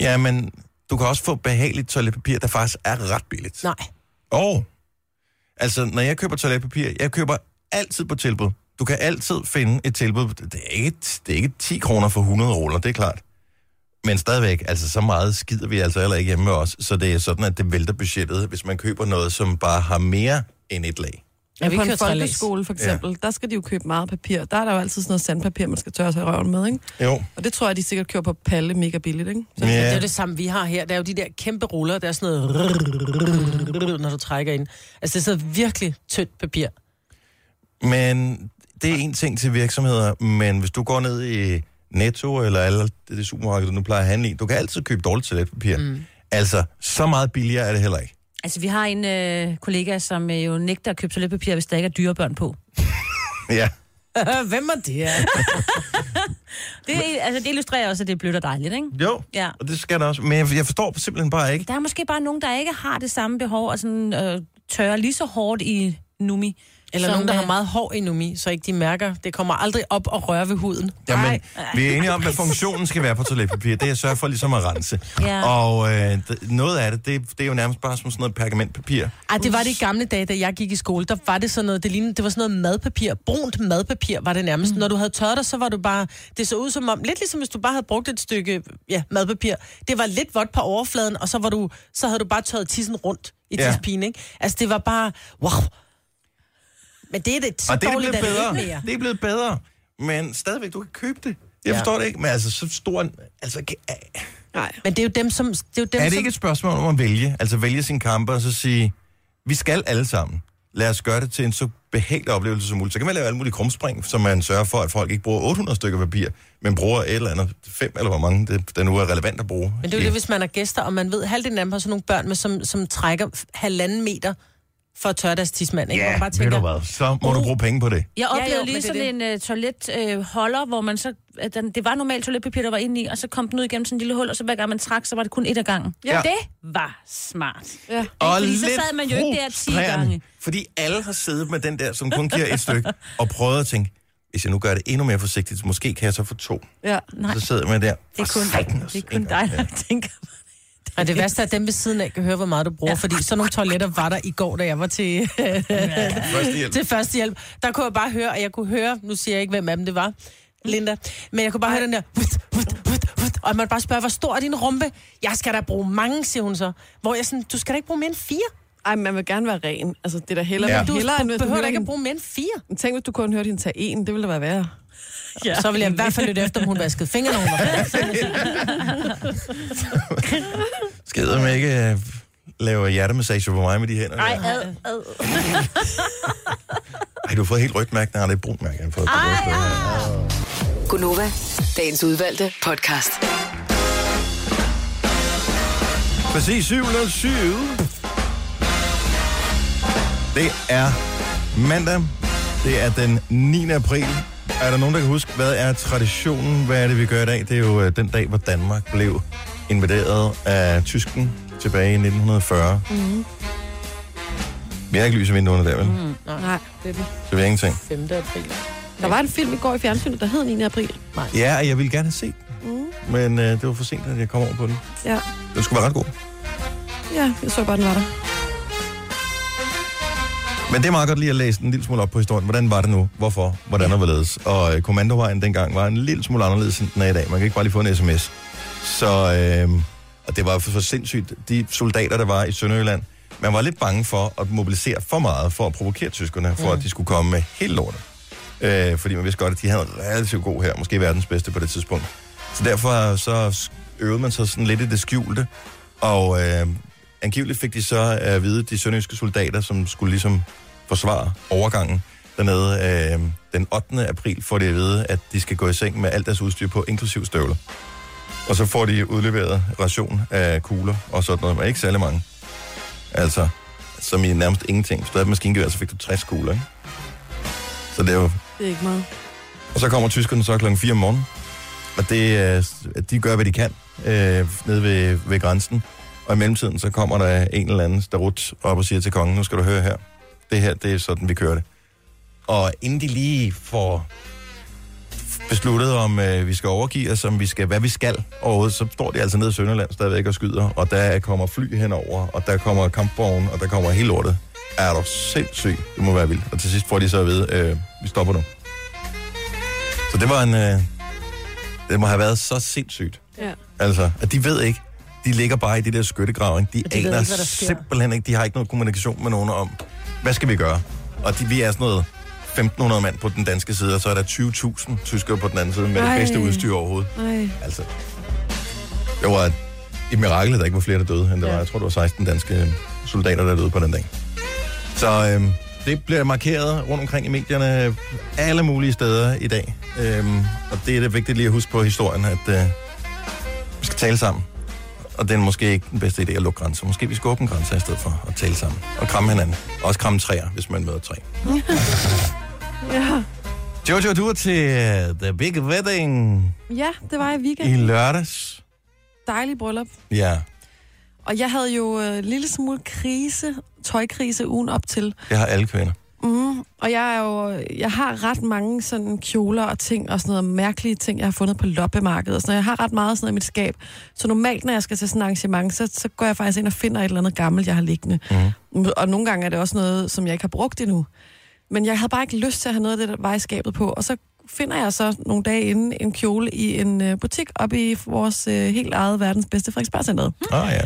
A: Jamen, du kan også få behageligt toiletpapir, der faktisk er ret billigt.
B: Nej.
A: Og, altså, når jeg køber toiletpapir, jeg køber altid på tilbud. Du kan altid finde et tilbud. Det er ikke, det er ikke 10 kroner for 100 ruller, det er klart. Men stadigvæk, altså så meget skider vi altså heller ikke hjemme med os, så det er sådan, at det vælter budgettet, hvis man køber noget, som bare har mere end et lag.
C: Ja,
B: vi
C: på en
B: kører trælæs.
C: folkeskole for eksempel, ja. der skal de jo købe meget papir. Der er der jo altid sådan noget sandpapir, man skal tørre sig i røven med, ikke?
A: Jo.
C: Og det tror jeg, de sikkert kører på palle mega billigt, ikke? Så,
B: Ja. Det er
A: Ja.
B: jo det samme, vi har her. Der er jo de der kæmpe ruller, der er sådan noget, når du trækker ind. Altså, det sidder virkelig tyndt papir.
A: Men det er en ting til virksomheder, men hvis du går ned i Netto eller alle det supermarked, du nu plejer at handle i, du kan altid købe dårligt toiletpapir. Mm. Altså, så meget billigere er det heller ikke.
D: Altså, vi har en øh, kollega, som øh, jo nægter at købe toiletpapir, hvis der ikke er dyrebørn på.
A: Ja.
B: Hvem er det her?
D: Det, altså, det illustrerer også, at det er blødt og dejligt, ikke?
A: Jo,
D: Ja.
A: og det skal der også. Men jeg, jeg forstår simpelthen bare ikke.
D: Der er måske bare nogen, der ikke har det samme behov og sådan, øh, tørrer lige så hårdt i numi.
B: Eller
D: som,
B: nogen, der
D: øh,
B: har meget hår endnu så ikke de mærker. Det kommer aldrig op og rører ved huden.
A: Jamen, vi er enige om, hvad funktionen skal være på toiletpapir. Det er at sørge for ligesom at rense.
D: Ja.
A: Og øh, d- noget af det, det, det er jo nærmest bare som sådan noget pergamentpapir.
B: Ej, det var det i gamle dage, da jeg gik i skole. Der var det sådan noget, det, lignede, det var sådan noget madpapir. Brunt madpapir var det nærmest. Mm. Når du havde tørret dig, så var du bare... Det så ud som om... Lidt ligesom hvis du bare havde brugt et stykke ja, madpapir. Det var lidt vådt på overfladen, og så, var du, så havde du bare tørret tissen rundt i
A: Ja.
B: ja. tidspinen, ikke? Altså, det var bare... Wow! Men det er det, så
A: Og det er
B: dårligt,
A: blevet
B: at det ikke
A: bedre.
B: mere.
A: Det er blevet bedre. Men stadigvæk, du kan købe det. Jeg
B: Ja.
A: forstår det ikke, men altså så stor... en- Altså, kan-
C: nej.
B: Men det er jo dem, som... Det er, jo dem,
A: er det
B: som,
A: ikke et spørgsmål om at vælge? Altså vælge sin kampe og så sige, vi skal alle sammen. Lad os gøre det til en så behagelig oplevelse som muligt. Så kan man lave alle mulige krumspring, så man sørger for, at folk ikke bruger 800 stykker papir, men bruger et eller andet, fem eller hvor mange, det, der nu er relevant at bruge.
B: Men det er jo det, hvis man er gæster, og man ved, at halvdelen af dem har sådan nogle børn, med, som, som trækker f- halvanden meter for at tørre deres tidsmand. Ikke? Hvor man
A: Ja,
B: bare
A: ved du hvad, så må du bruge penge på det.
D: Jeg oplevede "Uhuh." ja,
B: jo,
D: jo,
B: men
D: lige
B: det er
D: sådan en uh, toiletholder, uh, holder, hvor man så... At den, det var normalt toiletpapir, der var inde i, og så kom den ud igennem sådan en lille hul, og så hver gang man trak, så var det kun et af gangen.
A: Ja.
D: Det var smart.
C: Ja.
A: Og
D: fordi så
A: lidt
D: sad man jo ikke der 10
A: frustrerende,
D: gange.
A: Fordi alle har siddet med den der, som kun giver et stykke, og prøvet at tænke, hvis jeg nu gør det endnu mere forsigtigt, måske kan jeg så få to.
C: Ja.
D: Nej.
A: Så sidder man der.
D: Det er kun, det er kun dig, der tænker på det.
B: Og det værste er, at dem ved siden af kan høre, hvor meget du bruger, ja. fordi sådan nogle toiletter var der i går, da jeg var til, til førstehjælp. Der kunne jeg bare høre, og jeg kunne høre, nu siger jeg ikke, hvem af dem det
C: Mm.
B: var, Linda, men jeg kunne bare høre den der, vut, vut, vut, vut, og man bare spørger, hvor stor er din rumpe? Jeg skal da bruge mange, siger hun så. Hvor jeg sådan, du skal da ikke bruge mere end fire.
C: Ej, men man vil gerne være ren. Altså, det er da hellere,
A: Ja.
C: ja.
B: Du,
C: hellere end,
B: du
C: at
B: behøver da
C: hører
B: ikke at
C: hende-
B: bruge mere end fire.
C: Tænk, hvis du kun hørte hende tage en. Det ville da være værre.
B: Ja. Så vil jeg i hvert fald lytte efter, om hun vaskede fingre, når hun var færdig.
A: Skider man ikke øh, laver hjertemassage på mig med de hænder? Nej.
D: ad, ad.
A: Ej, du har fået helt rødt mærke. Nej, det er et brunt mærke, jeg har fået. Ej,
C: ah.
G: Gunova, dagens udvalgte podcast.
A: Præcis 707. Det er mandag. Det er den 9. april. Er der nogen, der kan huske, hvad er traditionen? Hvad er det, vi gør i dag? Det er jo øh, den dag, hvor Danmark blev invaderet af tysken tilbage i 1940. Mm. Vi har ikke lys i vinduerne der, vel? Mm.
C: Nej, det er det.
A: Så vi har ingenting.
B: 5. april.
C: Der var en film i går i fjernsynet, der hed 9. april. Nej.
A: Ja, og jeg ville gerne have set den. Mm. Men øh, det var for sent, at jeg kom over på den.
C: Ja.
A: Den skulle være ret god.
C: ja, jeg så bare, den var der.
A: Men det er meget godt lige at læse en lille smule op på historien. Hvordan var det nu? Hvorfor? Hvordan og hvorledes? Og øh, kommandovejen dengang var en lille smule anderledes, end den er i dag. Man kan ikke bare lige få en sms. Så, øh, og det var for, for sindssygt. De soldater, der var i Sønderjylland, man var lidt bange for at mobilisere for meget, for at provokere tyskerne, for mm. at de skulle komme med helt lortet. Øh, fordi man vidste godt, at de havde en relativt god her, måske verdens bedste på det tidspunkt. Så derfor så øvede man sig sådan lidt i det skjulte, og øh, angiveligt fik de så at vide, de sønderjyske soldater, som skulle ligesom forsvare overgangen dernede øh, den 8. april, får de at vide, at de skal gå i seng med alt deres udstyr på, inklusiv støvler. Og så får de udleveret ration af kugler og sådan noget, men ikke særlig mange. Altså, som i nærmest ingenting. Hvis du havde et maskingevær, så fik du 60 kugler, ikke? Så det er jo...
C: Det er ikke meget.
A: Og så kommer tyskerne så klokken 4 om morgenen, og det, er- de gør, hvad de kan øh, nede ved, ved grænsen. Og i mellemtiden, så kommer der en eller anden starut op og siger til kongen, nu skal du høre her. Det her, det er sådan, vi kører det. Og inden de lige får besluttet, om øh, vi skal overgive os, om vi skal, hvad vi skal overhovedet, så står de altså nede i Sønderland stadigvæk og skyder, og der kommer fly henover, og der kommer kampvogn, og der kommer hele lortet. Er du sindssyg? Det må være vildt. Og til sidst får de så at vide, øh, vi stopper nu. Så det var en... Øh, det må have været så sindssygt.
C: Ja.
A: Altså, at de ved ikke. De ligger bare i det der skyttegrav, ikke? De,
B: Og
A: de
B: de ved
A: aner
B: ikke, hvad der sker.
A: simpelthen ikke. De har ikke noget kommunikation med nogen om, hvad skal vi gøre? Og de, vi er sådan noget 1.500 mand på den danske side, og så er der 20.000 tyskere på den anden side med Ej.
C: Ej.
A: det bedste udstyr overhovedet.
C: Nej.
A: Altså, det var et, et mirakel, at der ikke var flere, der døde, end der ja. var. Jeg tror, det var 16 danske soldater, der døde på den dag. Så øhm, det bliver markeret rundt omkring i medierne øh, alle mulige steder i dag. Øhm, og det er det vigtigt lige at huske på historien, at øh, vi skal tale sammen. Og det er måske ikke den bedste idé at lukke grænser. Måske vi skal åbne grænser i stedet for at tale sammen. Og kramme hinanden. Også kramme træer, hvis man møder træ.
C: Ja.
A: Jojo, du er til øh, The Big Wedding
C: ja, det var i
A: i
C: weekend.
A: lørdags.
C: Dejlig bryllup.
A: Ja,
C: Og jeg havde jo øh, en lille smule krise, tøjkrise ugen op til.
A: det har alle kvinder.
C: Mm. Og jeg, er jo, jeg har ret mange sådan kjoler og ting og sådan noget mærkelige ting, jeg har fundet på loppemarkedet. Og sådan noget. Jeg har ret meget sådan noget i mit skab. Så normalt, når jeg skal til sådan et arrangement, så, så går jeg faktisk ind og finder et eller andet gammelt, jeg har liggende. Mm. Og nogle gange er det også noget, som jeg ikke har brugt endnu. Men jeg havde bare ikke lyst til at have noget af det, der var i skabet på. Og så finder jeg så nogle dage inden en kjole i en øh, butik oppe i vores øh, helt eget verdens bedste Frederiksberg
A: Ah ja.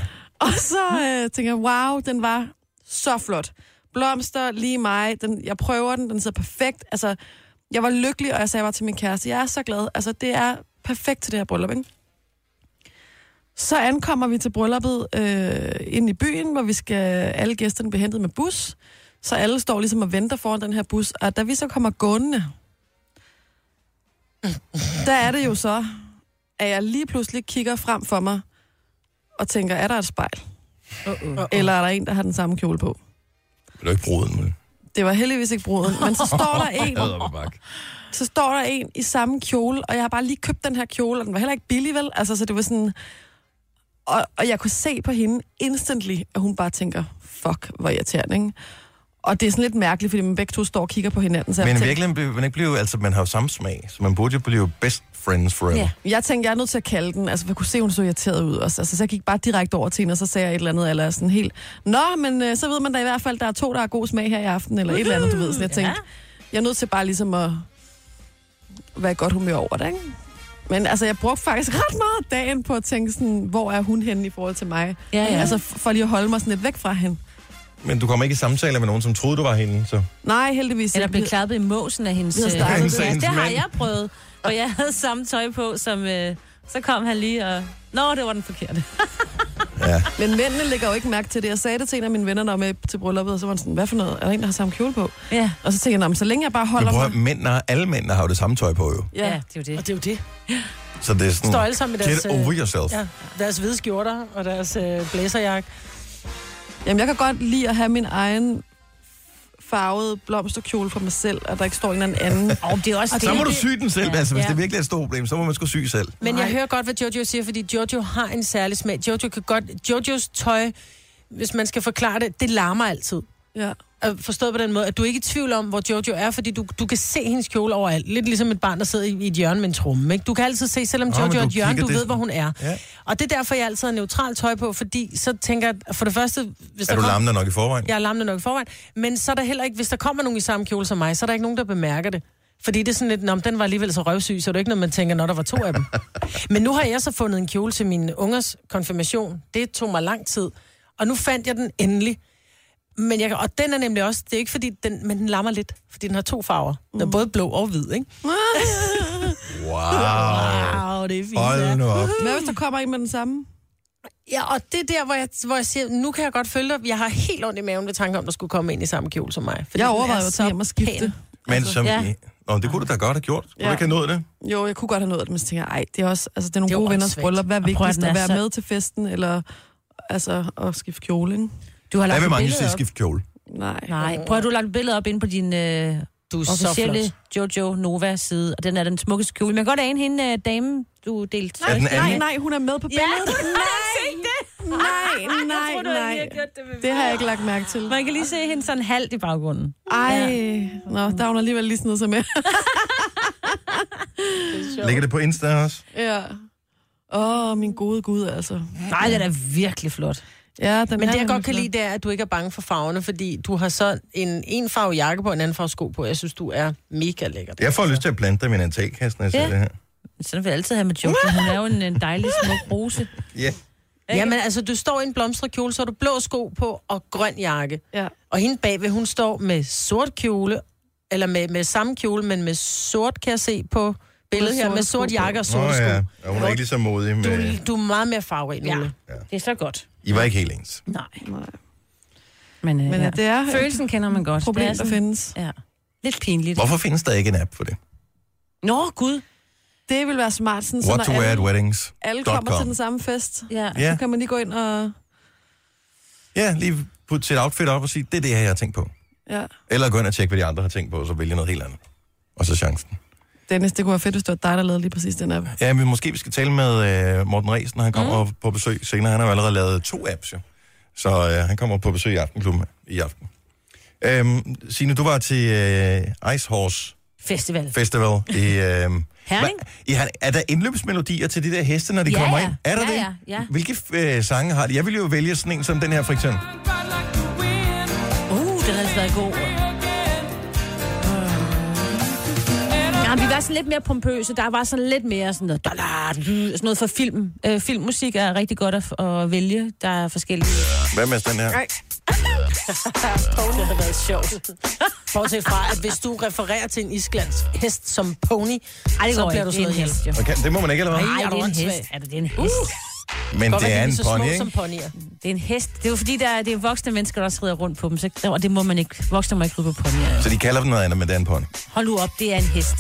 C: og så øh, tænker jeg, wow, den var så flot. Blomster, lige mig. Den, jeg prøver den, den sidder perfekt. Altså, jeg var lykkelig, og jeg sagde bare til min kæreste, jeg er så glad. Altså, det er perfekt til det her bryllup, ikke? Så ankommer vi til brylluppet øh, ind i byen, hvor vi skal alle gæsterne blive hentet med bus. Så alle står ligesom og venter foran den her bus. Og da vi så kommer gående, der er det jo så, at jeg lige pludselig kigger frem for mig og tænker, er der et spejl?
D: Uh-uh.
C: Eller er der en, der har den samme kjole på?
A: Vil du ikke bruge den, vel?
C: Det var heldigvis ikke bruden, men så står der en,
A: Æderbakke.
C: så står der en i samme kjole, og jeg har bare lige købt den her kjole, og den var heller ikke billig, vel? Altså, så det var sådan... Og, og jeg kunne se på hende instantly, at hun bare tænker, fuck, hvor irriterende, ikke? Og det er sådan lidt mærkeligt, fordi man begge to står og kigger på hinanden. Så jeg
A: Men i
C: tænkte-
A: virkeligheden blev man ikke blive, altså man har jo samme smag, så man burde jo blive best friends forever.
D: Ja.
C: Jeg tænkte, jeg er nødt til at kalde den. Altså, for jeg kunne se, hun så irriteret ud også. Altså, så jeg gik bare direkte over til hende, og så sagde jeg et eller andet, eller sådan helt... Nå, men øh, så ved man da i hvert fald, der er to, der har god smag her i aften, eller et eller andet, du ved. Sådan, jeg tænkte, jeg er nødt til bare ligesom at være i godt humør over det, ikke? Men altså, jeg brugte faktisk ret meget af dagen på at tænke sådan, hvor er hun henne i forhold til mig?
D: Ja, ja.
C: Altså, f- for lige at holde mig sådan lidt væk fra hende.
A: Men du kommer ikke i samtaler med nogen, som troede, du var hende, så...
C: Nej, heldigvis
D: Eller
C: ikke.
D: blev klappet i måsen af hendes...
C: Vi har startet
D: øh,
C: det.
D: ja,
A: Hendes
D: det har
A: mand.
D: jeg prøvet. Og jeg havde samme tøj på, som... Øh, så kom han lige og... Nå, det var den forkerte.
A: Ja.
C: Men mændene lægger jo ikke mærke til det. Jeg sagde det til en af mine venner, der var med til brylluppet, og så var han sådan, hvad for noget? Er der en, der har samme kjole på?
D: Ja,
C: Og så tænkte jeg, "Nå, men så længe jeg bare
A: Men
C: holder
A: prøv
C: mig...
A: at, mænd har, alle mænd har jo det samme tøj på jo.
D: ja, ja det er jo
B: Og
D: det.
B: det er jo det.
A: Så det er
B: Står
A: sådan,
B: alle sammen med deres, øh,
A: get
C: øh,
A: over yourself.
B: ja, deres hvide skjorter og deres øh, blæserjakke.
C: Jamen, jeg kan godt lide at have min egen farvede blomsterkjole for mig selv, og der ikke står en eller anden.
D: Og det er også
A: Så må
D: det.
A: du sy den selv,
D: Ja.
A: altså hvis
D: Ja.
A: det virkelig er et stort problem, så må man sgu sy selv.
B: Men Nej.
C: Nej.
B: jeg hører godt, hvad Jojo siger, fordi Jojo har en særlig smag. Jojo kan godt... Jojos tøj, hvis man skal forklare det, det larmer altid.
C: ja.
B: Øh, Forstået på den måde, at du er ikke i tvivl om, hvor Jojo er, fordi du, du kan se hendes kjole overalt. Lidt ligesom et barn, der sidder i, i et hjørne med en tromme. Ikke? Du kan altid se, selvom
A: Nå,
B: Jojo
A: men
B: er
A: du
B: et hjørne,
A: kigger
B: du
A: det-
B: ved, hvor hun er.
A: Mm. Ja.
B: Og det er derfor, jeg altid har neutralt tøj på, fordi så tænker jeg, at for det første... Hvis
A: Er
B: der
A: du
B: kom-
A: lammende nok i forvejen?
B: Jeg er lammende nok i forvejen. Men så er der heller ikke, hvis der kommer nogen i samme kjole som mig, så er der ikke nogen, der bemærker det. Fordi det er sådan lidt, om den var alligevel så røvsyg, så er det er ikke noget, man tænker, når der var to af dem. Men nu har jeg så fundet en kjole til min ungers konfirmation. Det tog mig lang tid. Og nu fandt jeg den endelig. Men jeg, kan- og den er nemlig også, det er ikke fordi, den, men den lammer lidt, fordi den har to farver. Den er både blå og hvid, ikke?
A: Wow.
B: Wow, det er fint.
A: Hold nu op.
C: Hvad hvis der kommer en med den samme?
B: Ja, og det er der, hvor jeg, hvor jeg siger, nu kan jeg godt følge dig. Jeg har helt ondt i maven ved tanken om, der skulle komme ind i samme kjole som mig.
C: Jeg
B: Fordi den er
C: overvejer jo at
B: så
C: tage hjem og skifte.
B: pæn.
A: Men som...
D: Altså, ja.
A: Nå, Nå, det kunne du da godt have gjort. Kunne ja.
C: Altså, Ja.
A: du ikke have nået det?
C: Jo, jeg kunne godt have nået det, men så tænker jeg, ej, det er også, altså, det er nogle
D: Det er
C: gode
D: jo
C: venners
D: åndssvagt.
C: bryllup. Hvad er
D: Og prøv at
C: vigtigst,
D: den er
C: at være
D: så-
C: med til festen, eller altså, at skifte kjole, ikke?
D: Du har
A: Der
D: lagt
A: vil
D: et
A: mange
D: billede
A: sige
D: op.
A: skift kjole.
C: Nej.
D: Nej, prøv at du har lagt et billede op inde på din øh,
B: Du er så flot.
D: officielle Jojo Nova-side, og den er den smukkeste kjole. Man kan godt ane hende, øh, dame, du delte.
A: Er den
C: Nej,
A: anden?
C: nej, hun er med på billedet. Nej, nej, nej, nej. Det har jeg ikke lagt mærke til.
D: Man kan lige se hende sådan halvt i baggrunden.
C: Ej, nå, der er hun alligevel lige sådan noget som jeg.
A: Ligger det på Insta også?
C: Ja. Åh, oh, min gode Gud, altså.
D: Nej, den er virkelig flot.
C: Ja, den
B: Men
C: er
B: det, jeg
C: nemlig
B: godt kan
C: flot.
B: lide, det er, at du ikke er bange for farverne, fordi du har så en, en farve jakke på, og en anden farve sko på. Jeg synes, du er mega lækker.
A: Jeg får lyst til at plante dem i en altankasse, når jeg ser
D: Ja.
A: det her.
D: Sådan vil jeg altid have med Jojo. Hun er jo en, en dejlig, smuk bruse.
A: Ja.
B: Ja, men altså, du står i en blomstret kjole, så har du blå sko på og grøn jakke.
C: Ja.
B: Og hende bagved, hun står med sort kjole, eller med, med samme kjole, men med sort, kan jeg se på billedet her,
C: sorte
B: med
C: sko
B: sort
C: på.
B: jakke
A: Nå
B: og sorte sko.
A: ja, og hun er ikke lige så modig med...
B: Du, du er meget mere farverig,
D: Ja.
B: Ole.
D: Det er så godt.
A: I var ikke helt ens.
D: Nej.
C: Nej.
D: Men, øh,
C: Men ja.
D: ja.
C: det er et
D: Følelsen kender man godt. Det
C: problem,
D: er
C: der
D: sådan-
C: findes.
D: Ja. Lidt pinligt.
A: Hvorfor findes der ikke en app for det?
D: Nå, Gud.
C: Det vil være smart, sådan, så
A: What to
C: når
A: wear at
C: alle,
A: weddings.
C: alle
A: dot
C: kommer
A: com.
C: til den samme fest,
D: Ja.
A: Ja,
C: så kan man lige gå ind og...
A: ja lige putte sit outfit op og sige, det er det her, jeg har tænkt på.
C: Ja.
A: Eller gå ind og tjekke, hvad de andre har tænkt på, og så vælge noget helt andet. Og så chancen.
C: Dennis, det kunne være fedt, hvis det var dig, der lavede lige præcis den app.
A: Ja, men måske vi skal tale med øh, Morten Rees, når han kommer mm. på besøg senere. Han har jo allerede lavet to apps, jo. Så øh, han kommer på besøg i Aftenklubben i aften. Øhm, Signe, du var til øh, Ice Horse
D: Festival.
A: Festival i... Øh,
D: Herning?
A: i Herning. Er der indløbsmelodier til de der heste, når de
D: Ja,
A: kommer
D: ja.
A: ind? Er der
D: Ja,
A: det?
D: ja, ja.
A: Hvilke øh, sange har de? Jeg ville jo vælge sådan en som den her, for eksempel.
D: Uh, den har altså været god. Ja, Mm. vi var sådan lidt mere pompøse. Der var sådan lidt mere sådan noget, dollar, sådan noget for film. Øh, filmmusik er rigtig godt at, at vælge. Der er forskellige.
A: Hvad med den her?
B: Det har været sjovt. Bortset fra, at hvis du refererer til en islandsk hest som pony,
D: Ej, det
B: så
D: går
B: bliver du
D: ikke.
B: slået
D: Det er en
B: ihjel.
D: hest, jo.
A: Okay, det må man ikke, eller hvad?
B: Ej,
D: Ej,
B: er du
D: det er en
B: åndssvag. Uh!
D: hest. Er det, det er en hest?
A: Men
B: Godt,
A: det
B: at de
A: er en
B: så
A: pony,
B: små
A: ikke?
B: som ponyer.
D: Det er en hest. Det er jo fordi, der er, det er voksne mennesker, der også rider rundt på dem. Så, og det må man ikke. Voksne må ikke ride på ponyer.
A: Så de kalder den noget andet, men det er en pony.
D: Hold nu op, det er en hest.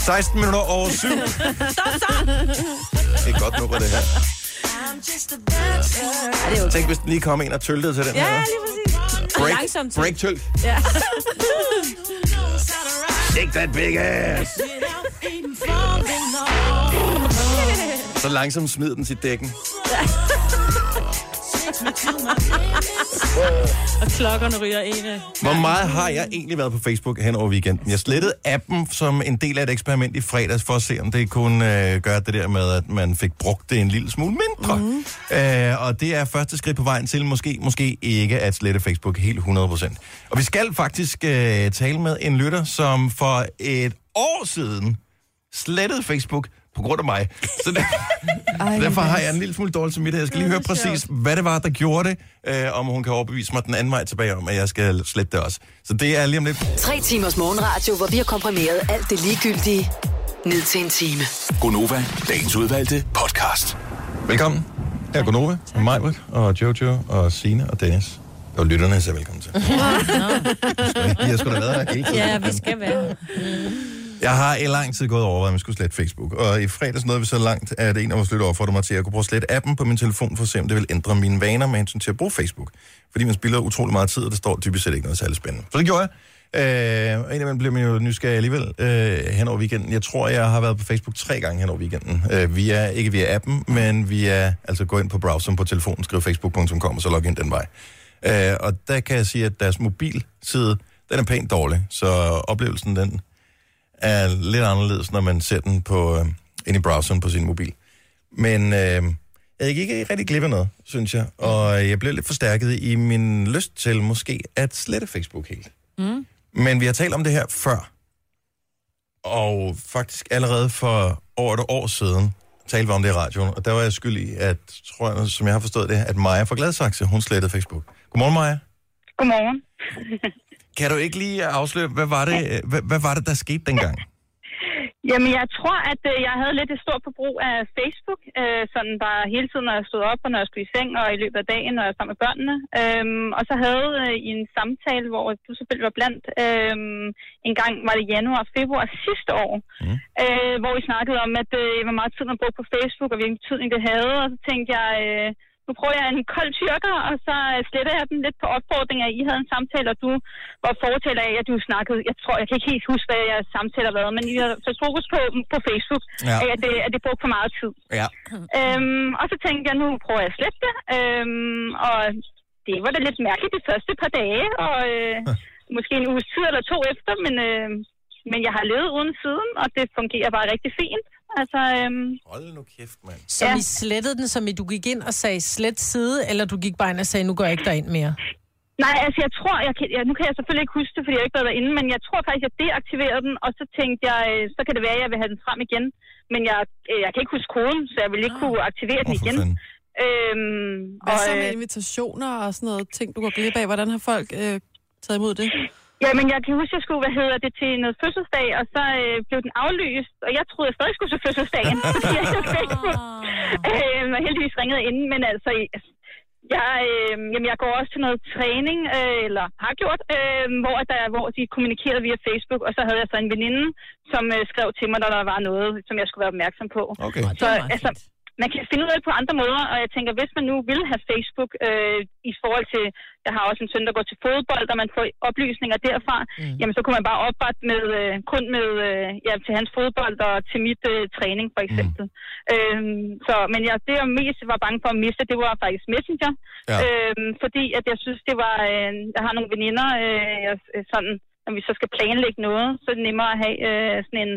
A: 16 minutter over 7. Stop, stop! Det er godt nummer, det her. Tænk, hvis den lige kom ind og tøltede til den her.
D: lige præcis.
A: Break,
D: Langsomt.
A: break tølt.
D: Ja.
A: Shake that big ass. Så langsomt smider den sit dækken.
D: Og klokkerne ryger ene.
A: Hvor meget har jeg egentlig været på Facebook hen over weekenden? Jeg slettede appen som en del af et eksperiment i fredags, for at se, om det kunne øh, gøre det der med, at man fik brugt det en lille smule mindre. Mm. Øh, og det er første skridt på vejen til måske, måske ikke at slette Facebook helt 100%. Og vi skal faktisk øh, tale med en lytter, som for et år siden slettede Facebook på grund af mig. Så der,
C: Ej,
A: Derfor har jeg en lille smule dårlig samvittighed. Jeg skal lige høre præcis, hvad det var, der gjorde det. Øh, om hun kan overbevise mig den anden vej tilbage om, at jeg skal slette det også. Så det er lige om lidt.
G: Tre timers morgenradio, hvor vi har komprimeret alt det ligegyldige ned til en time.
F: Gonova, dagens udvalgte podcast.
A: Velkommen. Her er Gunova, Majbert og Jojo og Sine og Dennis. Og lytterne så velkommen til. Jeg har sgu da været her hele tiden.
D: Ja, vi skal være.
A: Jeg har i lang tid gået og overvejet, at man skulle slette Facebook. Og i fredags nåede vi så langt, at en af vores lyttere opfordrede mig til, at jeg kunne prøve at slette appen på min telefon, for at se, om det ville ændre mine vaner med hensyn til at bruge Facebook. Fordi man spilder utrolig meget tid, og det står dybest set ikke noget særligt spændende. Så det gjorde jeg. Øh, og indimellem blev man jo nysgerrig alligevel øh, hen over weekenden. Jeg tror, jeg har været på Facebook tre gange hen over weekenden. Øh, via, ikke via appen, men via, altså gå ind på browseren på telefonen, skriv facebook.com, og så log ind den vej. Øh, og der kan jeg sige, at deres mobilside, den er pænt dårlig, så oplevelsen den er lidt anderledes, når man ser den på, øh, ind i browseren på sin mobil. Men øh, jeg gik ikke rigtig glip af noget, synes jeg. Og jeg blev lidt forstærket i min lyst til måske at slette Facebook helt. Mm. Men vi har talt om det her før. Og faktisk allerede for over et år siden talte vi om det i radioen. Og der var jeg skyld i, at, tror jeg, som jeg har forstået det, at Maja fra Gladsaxe, hun slettede Facebook. Godmorgen, Maja.
H: Godmorgen.
A: Kan du ikke lige afsløre, hvad var det, hvad, hvad var det der skete dengang?
H: Jamen, jeg tror, at øh, jeg havde lidt et stort forbrug af Facebook, øh, sådan bare hele tiden, når jeg stod op, og når jeg skulle i seng, og i løbet af dagen, når jeg var sammen med børnene. Øhm, og så havde øh, I en samtale, hvor du selvfølgelig var blandt, øh, en gang var det januar og februar sidste år, mm. øh, hvor I snakkede om, at øh, hvor meget tid man brugte på Facebook, og hvilken betydning det havde, og så tænkte jeg... Øh, nu prøver jeg en kold tyrker, og så øh, sletter jeg den lidt på opfordring af, at I havde en samtale, og du var fortæller af, at du snakkede, jeg tror, jeg kan ikke helt huske, hvad jeres samtale har været, men I har sat fokus på, på Facebook,
A: Ja.
H: ja. at, det, at det brugte for meget tid.
A: Ja.
H: Øhm, og så tænkte jeg, nu prøver jeg at slette det, øhm, og det var da lidt mærkeligt de første par dage, og øh, måske en uges tid eller to efter, men, øh, men jeg har levet uden siden, og det fungerer bare rigtig fint. Altså, øhm,
A: Hold nu kæft, mand.
B: Så ja.
H: Ja.
B: vi slettede den, som i du gik ind og sagde slet side, eller du gik bare ind og sagde, nu går jeg ikke derind mere?
H: Nej, altså jeg tror, jeg kan, ja, nu kan jeg selvfølgelig ikke huske det, fordi jeg ikke har været inde, men jeg tror faktisk, jeg deaktiverede den, og så tænkte jeg, øh, så kan det være, at jeg vil have den frem igen. Men jeg, øh, jeg kan ikke huske koden, så jeg ville ikke kunne aktivere den
A: Ah. Åh, for
H: igen.
A: fanden.
H: Øhm,
C: Hvad
H: og,
C: så med
H: øh,
C: invitationer og sådan noget ting, du går glip af? Hvordan har folk øh, taget imod det?
H: ja, men jeg kan huske, jeg skulle, hvad hedder det, til noget fødselsdag, og så øh, blev den aflyst, og jeg troede, jeg stadig skulle til fødselsdagen, fordi jeg ikke havde Facebook. Øhm, og heldigvis ringede inden, men altså, jeg, øh, jamen, jeg går også til noget træning, øh, eller har gjort, øh, hvor, der, hvor de kommunikerede via Facebook, og så havde jeg så en veninde, som øh, skrev til mig, når der var noget, som jeg skulle være opmærksom på.
A: Okay.
H: Så altså, man kan finde ud af det på andre måder, og jeg tænker, hvis man nu vil have Facebook øh, i forhold til, jeg har også en søn, der går til fodbold, og man får oplysninger derfra, mm. jamen så kunne man bare oprette med, øh, kun med, øh, ja, til hans fodbold og til mit øh, træning for eksempel. Mm. Øhm, så, men jeg, det, jeg mest var bange for at miste, det var faktisk Messenger,
A: Ja.
H: ja. øhm, fordi at jeg synes, det var, øh, jeg har nogle veninder, øh, jeg, sådan, når vi så skal planlægge noget, så er det nemmere at have øh, sådan en,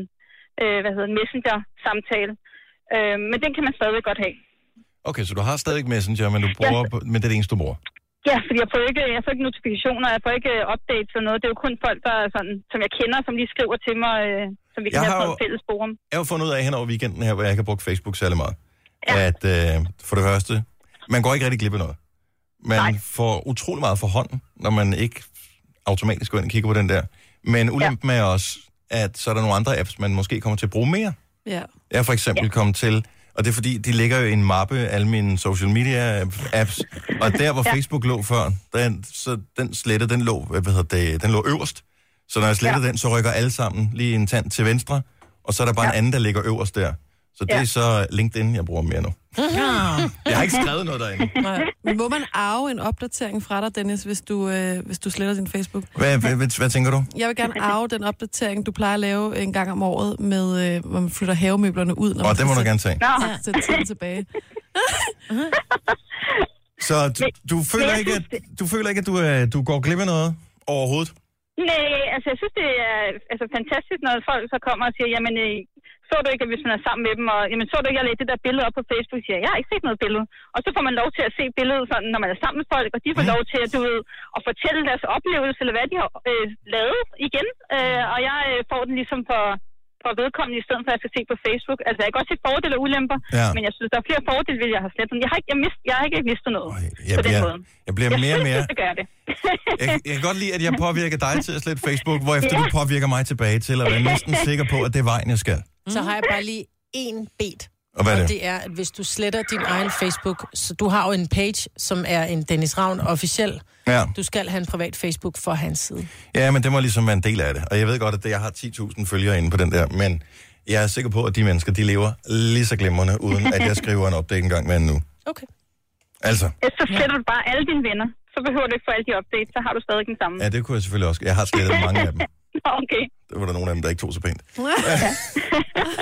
H: øh, hvad hedder det, Messenger-samtale. Øh, men den kan man stadig godt have.
A: Okay, så du har stadig Messenger, men, du bruger, men det er det eneste, du bruger.
H: Ja, Altså, fordi jeg får ikke, jeg får ikke notifikationer, jeg får ikke øh, updates eller noget. Det er jo kun folk, der er sådan, som jeg kender, som lige skriver til mig, øh, som vi kan
A: Jeg
H: jeg
A: har
H: have på
A: jo-
H: et fælles forum.
A: Jeg har jo fundet ud af hen over weekenden her, hvor jeg ikke har brugt Facebook særlig meget, ja. at øh, for det første, man går ikke rigtig glip af noget. Man Nej.
H: Nej.
A: får utrolig meget for hånden, når man ikke automatisk går ind og kigger på den der. Men ulempen ja. er også, at så er der nogle andre apps, man måske kommer til at bruge mere.
C: Ja.
A: Jeg er for eksempel ja. kommet til, og det er fordi, de ligger jo i en mappe, alle mine social media apps, og der hvor ja. Facebook lå før, den, så den slette, den lå, hvad hedder det, den lå øverst. Så når jeg sletter ja. den, så rykker alle sammen lige en tand til venstre, og så er der bare ja. en anden, der ligger øverst der. Så det ja.
H: Ja.
A: er så LinkedIn, jeg bruger mere nu. Jeg har ikke skrevet noget derinde.
C: Nej. Men må man arve en opdatering fra dig, Dennis, hvis du, øh, hvis du sletter din Facebook?
A: Hvad, hvad, hvad, hvad tænker du?
C: Jeg vil gerne arve den opdatering, du plejer at lave en gang om året, med, øh, hvor man flytter havemøblerne ud, når
A: Åh,
C: man
A: det må du gerne tage.
H: Nå,
C: sætte- sætte tiden tilbage.
A: Så du, du, føler,
H: jeg
A: ikke, at,
H: synes,
A: du føler ikke, at du, øh, du går glip af noget overhovedet?
H: nej, altså jeg synes, det er altså, fantastisk, når folk så kommer og siger, jamen, øh, så du ikke, at hvis man er sammen med dem, og jamen, så du ikke, at jeg lagde det der billede op på Facebook, siger, jeg, jeg har ikke set noget billede. Og så får man lov til at se billedet, sådan, når man er sammen med folk, og de får lov til at, du ved, at fortælle deres oplevelse, eller hvad de har øh, lavet igen. Øh, og jeg øh, får den ligesom for, for vedkommende, i stedet for at jeg skal se på Facebook. Altså, jeg kan godt se fordele og ulemper,
A: Ja.
H: ja. men jeg synes, der er flere fordele, ved, jeg har slettet. Jeg har ikke, jeg mist, jeg har ikke mistet noget
A: Øj,
H: på
A: Jeg
H: den
A: bliver,
H: måde.
A: jeg bliver
H: Jeg
A: mere og
H: synes,
A: mere...
H: det gør det.
A: Jeg, jeg kan godt lide, at jeg påvirker dig til at slette Facebook, hvorefter du påvirker mig tilbage til at være næsten sikker på, at det er vejen, jeg skal.
B: Så har jeg bare lige en bet.
A: Og hvad er
B: Og
A: det?
B: det er, at hvis du sletter din egen Facebook, så du har jo en page, som er en Dennis Ravn officiel.
A: Ja.
B: Du skal have en privat Facebook for hans side.
A: ja, men det må ligesom være en del af det. Og jeg ved godt, at det- jeg har 10.000 følgere inde på den der, men jeg er sikker på, at de mennesker, de lever lige så glimrende, uden at jeg skriver en update en gang hver nu.
B: Okay.
A: Altså,
H: Ellers så sletter du bare alle dine venner. Så behøver du ikke få alle de updates, så har du stadig den samme.
A: ja, det kunne jeg selvfølgelig også. Jeg har slettet mange af dem.
H: Nå, Okay.
A: Der var der nogle af dem, der ikke tog så pænt.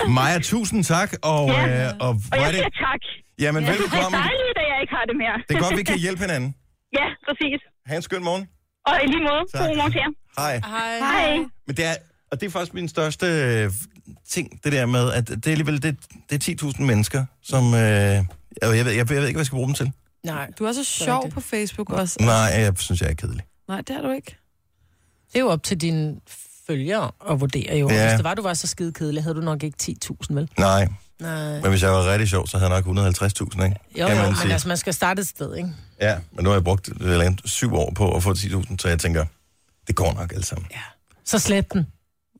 A: Maja, tusind tak, og,
H: Ja.
A: øh, og
H: Og
A: hvor er
H: jeg
A: det?
H: siger tak.
A: Jamen,
H: Det er
A: velkommen.
H: dejligt, at jeg ikke har det mere.
A: Det er godt, vi kan hjælpe hinanden.
H: Ja, præcis.
A: Ha' en skøn morgen.
H: Og i lige måde,
A: Tak.
H: god morgen til jer.
A: Hej.
B: Hej.
H: Hej.
A: Men det er, og det er faktisk min største øh, ting, det der med, at det er alligevel det, det er 10.000 mennesker, som... Øh, jeg, ved- jeg, ved, jeg ved ikke, hvad jeg skal bruge dem til.
B: Nej,
C: Du er så sjov på Facebook
B: Altså.
C: også.
A: Nej, jeg synes, jeg er kedelig.
C: Nej, det er du ikke.
B: det er jo op til dine følgere at vurdere jo.
A: Ja.
B: Ja. Hvis det var, du var så skide kedelig, havde du nok ikke 10.000, vel?
A: Nej,
B: Nej.
A: men hvis jeg var rigtig sjov, så havde jeg nok 150.000, ikke?
B: Jo,
A: Kan
B: jo,
A: man
B: men
A: sige.
B: altså, man skal starte et sted, ikke?
A: Ja, men nu har jeg brugt øh, eller, syv år på at få 10.000, så jeg tænker, det går nok alt sammen.
B: Så slet den.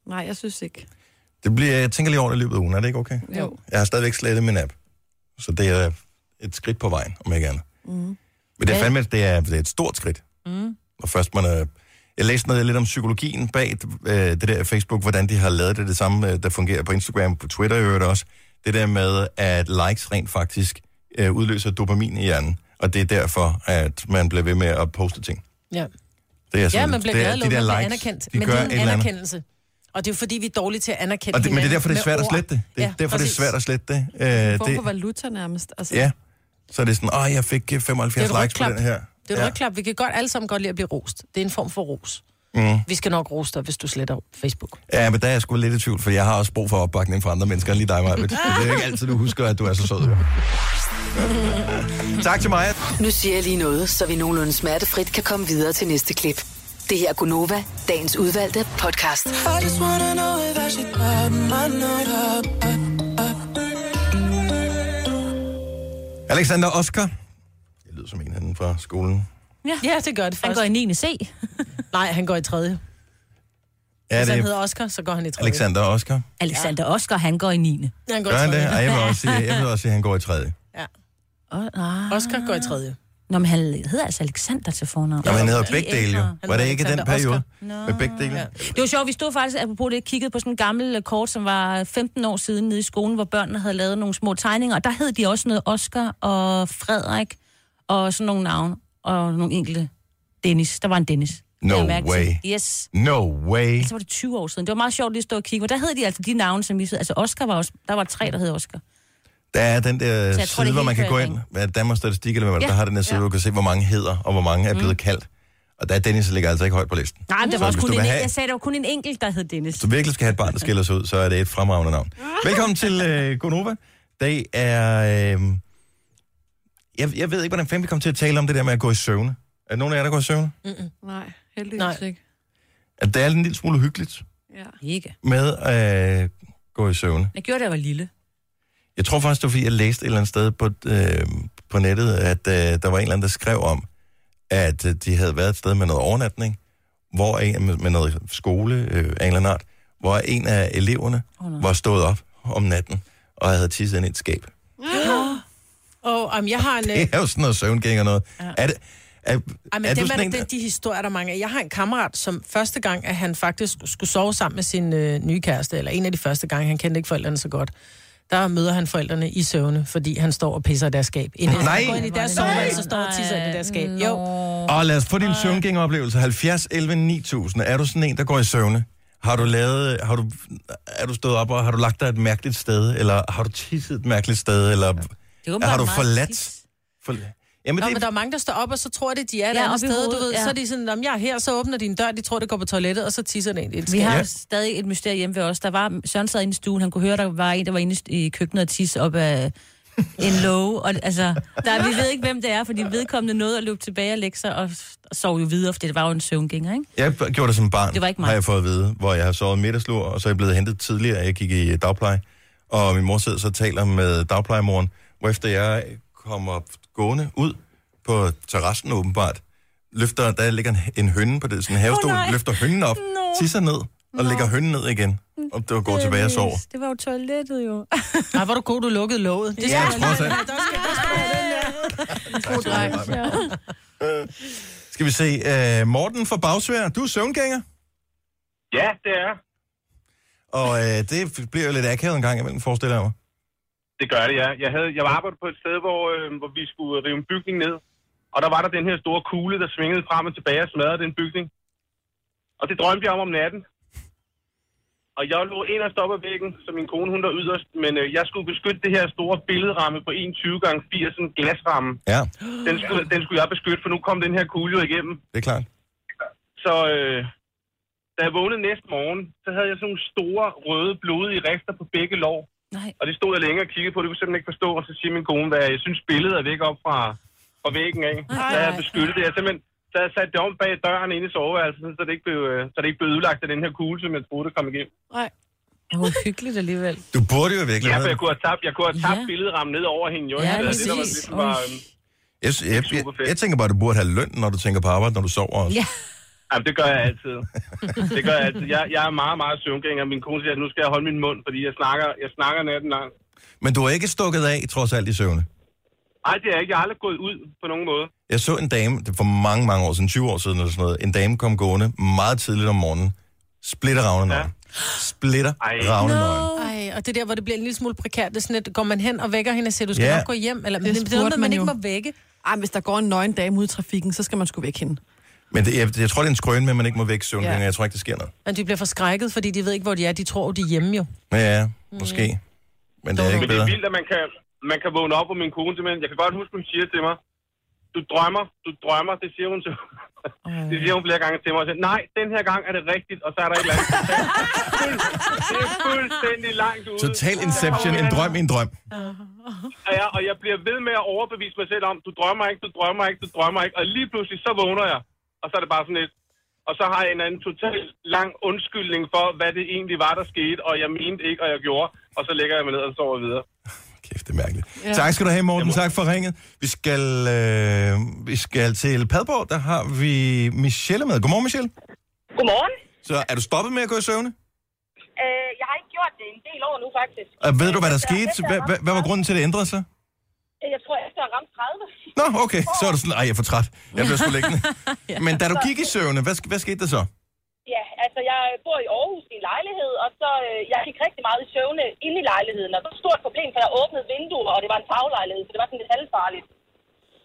C: Nej, jeg synes ikke.
A: Det bliver, jeg tænker lige over det i løbet af ugen, er det ikke okay?
C: Jo.
A: Jeg har stadigvæk slettet min app. Så det er et skridt på vejen, om ikke andet. Mm. Men det er fandme, det er, det er et stort skridt. Mm. Og først man er... Jeg læste noget lidt om psykologien bag øh, det der Facebook, hvordan de har lavet det, det samme, øh, der fungerer på Instagram, på Twitter i øvrigt også. Det der med, at likes rent faktisk øh, udløser dopamin i hjernen, og det er derfor, at man bliver ved med at poste ting.
B: Ja.
A: Det er
B: Ja,
A: sådan-
B: man bliver
A: det
B: glad,
A: er-
B: når man
A: der
B: bliver
A: likes,
B: anerkendt.
A: De
B: men
A: gør
B: det
A: et
B: er en
A: eller andet.
B: anerkendelse. Og det er jo fordi, vi er dårlige til at anerkende
A: Og det, men det er
B: hinanden
A: derfor, det er
B: med
A: svært at
B: ord.
A: slette det. Det er
B: Ja,
A: derfor, det er
B: præcis.
A: svært at slette det. Øh, det
C: Form for valuta nærmest. Altså,
A: ja. Så er det sådan, åh, jeg fik øh,
B: Det
A: 75
B: er et
A: likes på
B: rygklap.
A: den her.
B: Det er et
A: ja.
B: rygklap. Vi kan godt alle sammen godt lide at blive rost. Det er en form for ros.
A: Mm.
B: Vi skal nok rose dig, hvis du sletter Facebook.
A: ja, men der er jeg sgu lidt i tvivl, for jeg har også brug for opbakning fra andre mennesker, end lige dig, Maja. Det er jo ikke altid, du husker, at du er så sød. jo. tak til mig.
G: Nu siger jeg lige noget, så vi nogenlunde smertefrit kan komme videre til næste klip. Det her er Gunova, dagens udvalgte podcast.
I: I just wanna know if I should pop my night up.
A: Alexander Oskar. Det lyder som en af den fra skolen.
B: Ja, det gør det faktisk.
D: Han går i 9. C.
B: Nej, han går i tredje.
A: Ja,
B: Hvis han
A: det er
B: hedder Oscar, så går han i tredje.
A: Alexander Oskar.
D: Alexander Oskar, han går i 9.
B: Han går
A: Gør
B: i
A: han det?
B: tredje.
A: Ej, jeg vil også sige, jeg vil også sige at han går i tredje.
D: Oh, ah.
B: Oscar går i tredje.
D: Nå, men han hedder altså Alexander til fornavn.
A: Nå, men han hedder
D: De
A: begge dele jo.
D: ældre.
A: Var det ikke i den
B: Alexander
A: periode?
D: Nå.
A: Med begge dele?
D: Det var sjovt, vi stod faktisk, apropos det, kiggede på sådan en gammel øh, kort, som var 15 år siden nede i skolen, hvor børnene havde lavet nogle små tegninger, og der hed de også noget Oscar og Frederik og sådan nogle navne, og nogle enkelte Dennis. Der var en Dennis.
A: No
D: Det havde jeg mærke
A: way.
D: Til. Yes.
A: No way.
B: Altså,
D: Så Altså, var det 20 år siden. Det var meget sjovt lige at stå og kigge, og der hed de altså de navne, som vi hed. Altså Oscar var også, der var tre, der hed Oscar.
A: Der er den der
D: tror,
A: side,
D: det er
A: hvor
D: helt
A: man kan gå ind,
D: trending.
A: hvad er det, Danmarks Statistik, eller hvad, ja.
D: Ja.
A: der har den der side,
D: Ja.
A: hvor du kan se, hvor mange hedder, og hvor mange er blevet mm. kaldt. Og der er Dennis, der ligger altså ikke højt på listen.
D: Nej, men der
A: Så
D: var også
A: hvis
D: kun
A: du
D: en,
A: vil
D: have...
A: have-
D: jeg sagde, der var kun en enkelt, der hed Dennis.
A: Så virkelig skal have et barn, der skiller sig ud, så er det et fremragende navn. Velkommen til øh, Gonova. Det er... Øh, jeg, jeg ved ikke, hvordan fanden vi kom til at tale om det der med at gå i søvne. Er der nogen af jer, der går i søvne?
C: Nej, heldigvis
B: Nej.
C: ikke.
A: At det er en lille smule hyggeligt
C: Ja.
D: Ikke.
A: med at øh, gå i søvne.
D: Jeg gjorde det, da jeg var lille.
A: Jeg tror faktisk, det var, fordi jeg læste et eller andet sted på, øh, på nettet, at øh, der var en eller anden, der skrev om, at øh, de havde været et sted med noget overnatning, hvor en, øh, med, med noget skole øh, af en eller anden art, hvor en af eleverne
D: Åh, nej.
A: var stået op om natten og havde tisset ind i et skab.
B: Og om jeg har en... øh,
A: Det er jo sådan noget søvngæng og noget. Ja. Er det, er,
B: Ej, men
A: er
B: er
A: du
B: dem er
A: sådan en,
B: der, de, de historier, der er mange af. Jeg har en kammerat, som første gang, at han faktisk skulle sove sammen med sin øh, nye kæreste, eller en af de første gange, han kendte ikke forældrene så godt, der møder han forældrene i søvne, fordi han står og pisser i deres skab. Inden
A: Nej.
B: Han går ind i deres soveværelse, så står og tisser ind i deres skab. Jo,
A: Og lad os få din søvngængeroplevelse. 70, 11, 9000. Er du sådan en, der går i søvne? Har du lavet, har du, er du stået op, og har du lagt dig et mærkeligt sted? Eller har du tisset et mærkeligt sted? Eller
D: Det er
A: ja. har du
D: meget
A: forladt?
D: skidt.
A: For, jamen,
B: Nå,
A: det,
B: men der er mange, der står op, og så tror det, de er et
D: Ja,
B: andet
D: op i
B: sted. Du
D: hovedet,
B: ved,
D: ja.
B: så er de sådan, om jeg er her, så åbner din dør, de tror, det går på toilettet, og så tisser det ind i et
D: Vi
B: skab.
D: har
A: Ja.
D: ja. stadig et mysterie hjemme ved os. Der var, Søren sad inde i stuen, han kunne høre, der var en, der var inde i køkkenet og tisse op af en låge. Og, altså, der, vi ved ikke, hvem det er, fordi vedkommende nåede at løbe tilbage og lægge sig og, og sove jo videre, fordi det var jo en søvngænger, ikke?
A: jeg gjorde det som barn,
D: Det var ikke mig.
A: har jeg fået at vide, hvor jeg har sovet middagslur, og så er jeg blevet hentet tidligere, jeg gik i dagpleje. Og min mor sidder så og taler med dagplejemoren, hvorefter jeg kommer gående ud på terrassen åbenbart, løfter, der ligger en, en hønne på det, sådan en havestol,
D: nej.
A: oh, løfter hønnen op, no. tisser ned, og no. lægger hønnen ned igen, og det går tilbage og sover.
D: Det var jo toilettet jo.
B: Ej, hvor er du god, du lukkede låget. Det skal
A: Ja,
B: jeg lige-
A: trods alt.
B: Der skal, der skal være den der.
A: Tak skal du have, Maja. Øh, Skal vi se, uh, Morten fra Bagsvær, du er søvngænger,
J: Ja, det er.
A: og uh, det bliver jo lidt akavet en gang imellem, forestiller jeg mig.
J: Det gør det, ja. Jeg, havde, jeg arbejdede på et sted, hvor, øh, hvor vi skulle rive en bygning ned. Og der var der den her store kugle, der svingede frem og tilbage og smadrede den bygning. Og det drømte jeg om om natten. Og jeg lå inderst op ad væggen, så min kone hun der yderst. Men øh, jeg skulle beskytte det her store billedramme på 21 gange 80 sådan en glasramme.
A: Ja,
J: Den skulle, den skulle jeg beskytte, for nu kom den her kugle jo igennem.
A: det er klart.
J: Så øh, da jeg vågnede næste morgen, så havde jeg sådan nogle store, røde, blodige rister på begge lår.
D: Nej.
J: Og det stod jeg længere og kiggede på, det kunne jeg simpelthen ikke forstå. Og så siger min kone, hvad jeg synes billedet er væk op fra, fra væggen af. Så havde jeg beskyttet det. Jeg simpelthen så havde jeg sat det om bag døren inde i soveværelset, så det ikke blev, øh, så det ikke blev ødelagt af den her kugle, som jeg troede, der kom igennem.
C: Nej.
D: Det var hyggeligt alligevel.
A: Du burde jo virkelig
J: Ja,
A: have
J: for jeg kunne have tabt, jeg kunne have tabt
D: Ja.
J: ja. billedrammen ned over hende. Jo,
D: Ja,
J: ikke? Det er det, der var,
D: præcis.
J: ligesom, bare, øh,
A: Jeg, sy- jeg,
J: super
A: jeg,
J: fedt.
A: jeg tænker bare, at du burde have løn, når du tænker på arbejde, når du sover også.
D: Ja.
J: Jamen, det gør jeg altid. Det gør jeg altid. Jeg, jeg er meget, meget søvngænger. Min kone siger, at nu skal jeg holde min mund, fordi jeg snakker, jeg snakker natten lang.
A: Men du er ikke stukket af, trods alt, i søvne.
J: Nej, det er jeg ikke. Jeg har aldrig gået ud på nogen måde.
A: Jeg så en dame, det er for mange, mange år siden, 20 år siden eller sådan noget, en dame kom gående meget tidligt om morgenen, splitter ravne ja. Splitter ravne no.
B: Ej, og det er der, hvor det bliver en lille smule prekært. Det er sådan, at går man hen og vækker hende og siger, du skal
A: Ja.
B: nok gå hjem. Eller,
C: Det
B: men det, det er
C: spurgte
B: noget, med, man,
C: man
B: ikke
C: jo.
B: må vække.
C: Ej, hvis der går en nøgen dame ud i trafikken, så skal man sgu væk hende.
A: Men det, jeg, jeg, tror, det er en skrøn med, at man ikke må vække søvngænger.
B: Ja.
A: Jeg tror ikke, det sker noget.
B: Men de bliver forskrækket, fordi de ved ikke, hvor de er. De tror, de er hjemme jo.
A: Men ja, måske. Men det er ikke
J: Men det er
A: bedre.
J: vildt, at man kan, man kan vågne op, og min kone simpelthen... Jeg kan godt huske, hun siger til mig, du drømmer, du drømmer, det siger hun til Det siger hun flere gange til mig. Og siger, Nej, den her gang er det rigtigt, og så er der et eller andet. det er fuldstændig langt ude.
A: Total inception, en drøm i en drøm.
J: Ja, og jeg bliver ved med at overbevise mig selv om, du drømmer ikke, du drømmer ikke, du drømmer ikke. Og lige pludselig, så vågner jeg. Og så er det bare sådan lidt... Og så har jeg en anden total lang undskyldning for, hvad det egentlig var, der skete, og jeg mente ikke, og jeg gjorde. Og så lægger jeg mig ned og sover videre.
A: Kæft, det er mærkeligt. Ja. Tak skal du have, Morten. Tak for ringet. Vi skal, øh, vi skal til Padborg. Der har vi Michelle med. Godmorgen, Michelle.
K: Godmorgen.
A: Så er du stoppet med at gå i søvne?
K: Øh, jeg har ikke gjort det en del år nu, faktisk.
A: Og Øh, ved du, hvad der
K: Efter-
A: skete?
K: efter
A: Hvad,
K: jeg
A: hvad, hvad var grunden til, at det ændrede sig?
K: ramte- Jeg tror, efter jeg ramte 30.
A: Nå, okay. Så er du sådan, ej, jeg er for træt. Jeg bliver sgu liggende. Men da du gik i søvne, hvad, sk- hvad skete der så?
K: Ja, altså, jeg bor i Aarhus i en lejlighed, og så øh, jeg gik rigtig meget i søvne inde i lejligheden. Og det var et stort problem, for jeg åbnede vinduer, og det var en taglejlighed, så det var sådan lidt halvfarligt.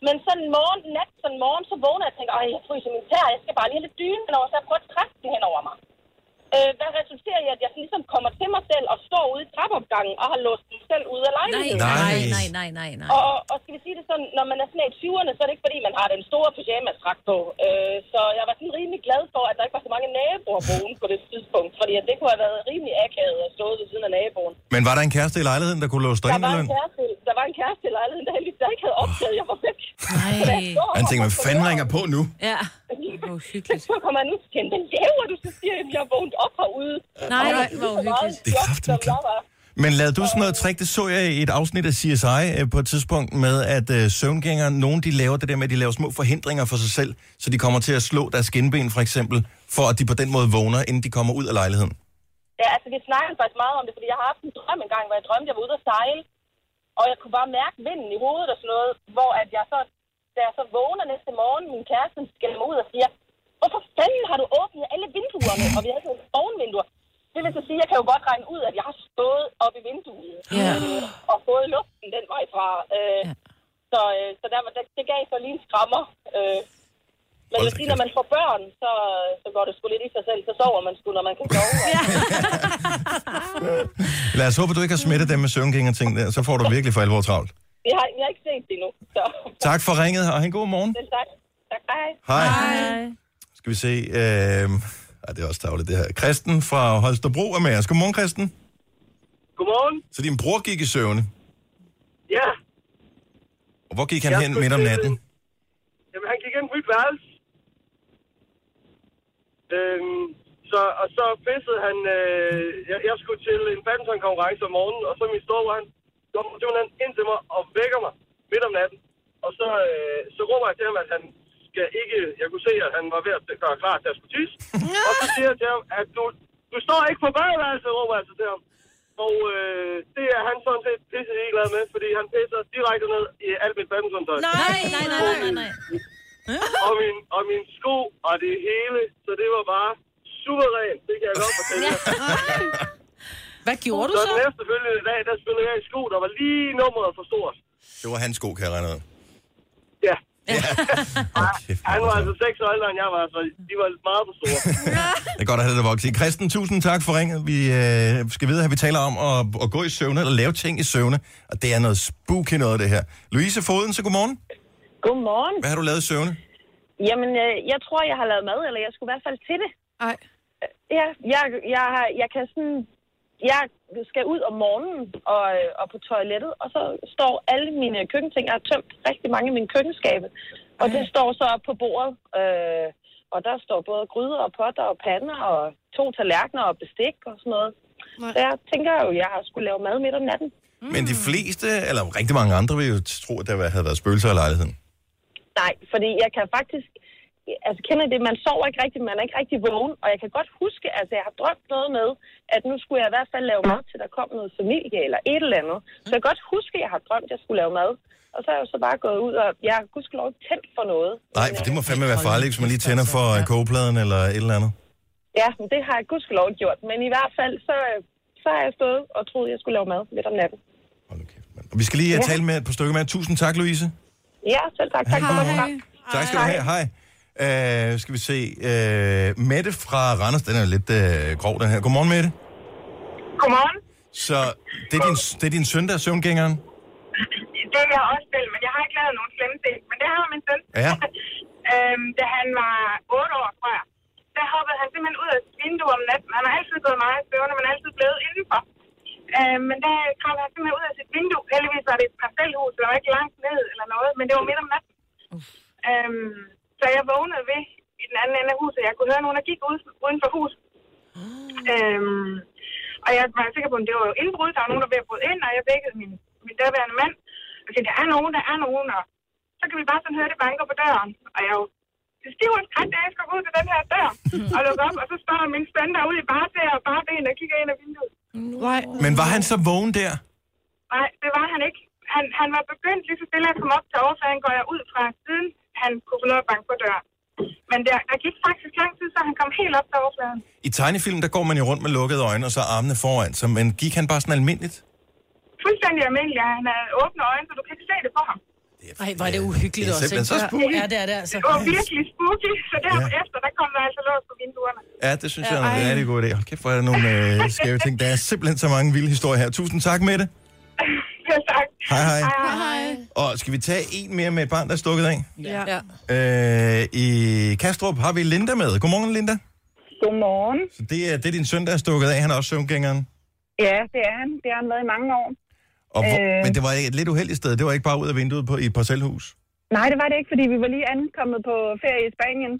K: Men sådan morgen, nat, sådan morgen, så vågner jeg og tænker, at jeg fryser min tær, jeg skal bare lige have lidt dyne henover, så jeg prøver at trække den henover mig. Øh, hvad resulterer i, at jeg sådan ligesom kommer til mig selv og står ude i trappeopgangen og har låst mig selv ude af
D: Nej,
K: lejligheden?
D: nej, nej, nej, nej, nej.
K: Og, og skal vi sige det sådan, når man er sådan i 20'erne, så er det ikke fordi, man har den store pyjamas-dragt på. Øh, så jeg var sådan rimelig glad for, at der ikke var så mange naboer boende på det tidspunkt, fordi at det kunne have været rimelig akavet at stå ved siden af naboen.
A: Men var der en kæreste i lejligheden, der kunne låse dig
K: Der
A: ind?
K: var,
A: Eller?
K: en kæreste, der var en kæreste i lejligheden, der heldigvis der ikke havde opdaget, at jeg var væk.
A: en- Han tænkte, hvad fanden ringer på nu?
K: Ja. Hvor hyggeligt. Så kommer han ud til hvad laver du? Så siger jeg, at jeg har vågnet op herude.
D: Nej,
K: Og jeg var
D: hvor
K: lige så meget
D: uhyggeligt.
A: Det er
K: chok,
A: kraftedeme
K: som jeg var.
A: Men lavede du sådan noget trick, det så jeg i et afsnit af CSI øh, på et tidspunkt med, at øh, søvngængere, nogen de laver det der med, at de laver små forhindringer for sig selv, så de kommer til at slå deres skinben for eksempel, for at de på den måde vågner, inden de kommer ud af lejligheden.
K: Ja, altså vi snakkede faktisk meget om det, fordi jeg har haft en drøm engang, hvor jeg drømte, jeg var ude at sejle. Og jeg kunne bare mærke vinden i hovedet og sådan noget, hvor at jeg så, da jeg så vågner næste morgen, min kæreste skælder mig ud og siger, hvorfor fanden har du åbnet alle vinduerne? Og vi havde sådan nogle ovenvinduer. Det vil så sige, at jeg kan jo godt regne ud, at jeg har stået oppe i vinduet
D: Ja.
K: øh, og fået luften den vej fra. Øh, Så, øh, så der, var- det, det gav så lige en skrammer. Øh, men jeg vil sige, når man får børn, så, så går det sgu lidt i sig selv. Så sover man sgu, når man kan sove.
A: Lad os håbe, at du ikke har smittet dem med søvngænger ting der, så får du virkelig for alvor travlt.
K: Vi har, vi har ikke set det endnu, så
A: Tak for ringet, og have en god morgen.
K: selv tak. Tak, hej.
A: Hej. Skal vi se, øh... Ej, det er også tavlet det her. Kristen fra Holstebro er med os. Godmorgen, Kristen.
L: Godmorgen.
A: Så din bror gik i søvne,
L: Ja,
A: og hvor gik han
L: Jeg
A: hen
L: skulle
A: midt om
L: til-
A: natten?
L: jamen han gik ind på mit værelse. Øhm, så, og så pissede han... Øh, jeg, jeg, skulle til en badmintonkonkurrence om morgenen, og så min storebror, han kommer simpelthen ind til mig og vækker mig midt om natten. Og så, øh, så råber jeg til ham, at han skal ikke... Jeg kunne se, at han var ved at gøre klar til at skulle tisse. og så siger jeg til ham, at du, du står ikke på badeværelset, råber jeg så til ham. Og øh, det er han sådan set pisse ligeglad med, fordi han pisser direkte ned i alt mit badmintontøj.
D: Nej, nej, nej, nej, nej.
L: og, min, og min sko og det hele, så det var bare suverænt, det kan jeg godt fortælle jer.
B: Hvad gjorde du så?
L: den efterfølgende dag, der spillede jeg i sko, der var lige nummeret for stort.
A: Det var hans sko, kan jeg regne ud.
L: Ja. Han var altså seks år ældre end jeg var, så de var meget for store.
A: Det er godt at have det vokset. Kristen, tusind tak for ringet. Vi øh, skal vide, at vi taler om at, at gå i søvne eller lave ting i søvne. Og det er noget spooky noget, det her. Louise Foden, så godmorgen.
K: Godmorgen.
A: Hvad har du lavet i søvne?
K: Jamen, øh, jeg tror, jeg har lavet mad, eller jeg skulle i hvert fald til det. Nej. Ja, jeg, jeg, har- jeg kan sådan... Jeg skal ud om morgenen og, øh, og på toilettet, og så står alle mine køkkenting. Jeg har tømt rigtig mange af mine køkkenskabe, og det står så op på bordet. Øh, og der står både gryder og potter og pander og to tallerkener og bestik og sådan noget. Så jeg tænker jo, jeg har skulle lave mad midt om natten.
A: Mm. Men de fleste, eller rigtig mange andre, vil jo tro, at der havde været spøgelser i lejligheden.
K: Nej, fordi jeg kan faktisk... altså kender I det, man sover ikke rigtigt, man er ikke rigtig vågen, og jeg kan godt huske, altså jeg har drømt noget med, at nu skulle jeg i hvert fald lave mad til, der kom noget familie eller et eller andet. Så jeg kan godt huske, at jeg har drømt, at jeg skulle lave mad. Og så er jeg jo så bare gået ud, og jeg har gudskelov ikke tændt for noget.
A: Nej, for det må fandme være farligt, hvis man lige tænder for øh, kogepladen eller et eller andet.
K: Ja, men det har jeg gudskelov ikke gjort. Men i hvert fald, så, øh, så har jeg stået og troet, at jeg skulle lave mad midt om natten.
A: Og vi skal lige øh,
K: Ja.
A: tale med et par stykker med. Tusind tak, Louise.
K: Ja, selv tak. Tak for det.
A: Tak skal du have. Hej. Uh, skal vi se. Uh, Mette fra Randers, den er lidt uh, grov, den her. Godmorgen, Mette.
M: Godmorgen.
A: Så det er din, det er din søn, der er søvngængeren?
M: Det vil jeg også spille, men jeg har ikke lavet nogen slemme ting. Men det har min søn.
A: Ja.
M: øhm, da han var 8 år, tror jeg, der hoppede han simpelthen ud af sit vindue om natten. Han har altid gået meget i støvne, men altid blevet indenfor. Øhm, men der kom han simpelthen ud af sit vindue. Heldigvis var det et parcelhus, der var ikke langt ned eller noget, men det var midt om natten. Øhm, så jeg vågnede ved i den anden ende af huset. Jeg kunne høre nogen, der gik ude, uden for huset. Øhm, og jeg var sikker på, at det var jo indbrud. Der var nogen, der var ved at bryde ind, og jeg vækkede min, min derværende mand. Og tænkte, Altså, der er nogen, der er nogen. Og så kan vi bare sådan høre, det banker på døren. Og jeg er jo til stiv og skræt, da jeg skal gå ud til den her dør. og lukke op, og så står min stand derude i bare og bare ben og kigger ind ad vinduet.
C: Nej.
A: Men var han så vågen der?
M: Nej, det var han ikke. Han, han var begyndt lige så stille at komme op til overfladen, går jeg ud fra, siden han kunne få lov at banke på døren. Men der, der gik faktisk lang tid, så han kom helt op til overfladen.
A: I tegnefilm, der går man jo rundt med lukkede øjne og så armene foran, så, men gik han bare sådan almindeligt?
M: Fuldstændig almindelig. Han havde åbne øjne, så du kan ikke se det på ham.
B: Nej, hvor er det uhyggeligt
A: Det er
B: også, ikke?
A: simpelthen så spooky.
B: Ja, det er det altså.
M: Det var virkelig spooky, så derefter, der kom der altså lås på vinduerne.
A: Ja, det synes
M: Ja,
A: ja, jeg er en
M: ej.
A: rigtig god idé. Hold kæft, hvor er der nogle øh, skæve ting. Der er simpelthen så mange vilde historier her. Tusind tak, Mette.
M: Ja, tak.
A: Hej, hej.
M: hej.
A: Og skal vi tage en mere med et barn, der er stukket af?
M: Ja. ja.
A: Øh, I Kastrup har vi Linda med. Godmorgen, Linda.
N: Godmorgen.
A: Så det er, det er din søn, der er stukket af. Han er også søvngængeren.
N: Ja, det er han. Det har han været i mange år.
A: Og hvor,
N: Øh.
A: øh... Men det var et lidt uheldigt sted. Det var ikke bare ud af vinduet på, i et parcelhus.
N: Nej, det var det ikke, fordi vi var lige ankommet på ferie i Spanien.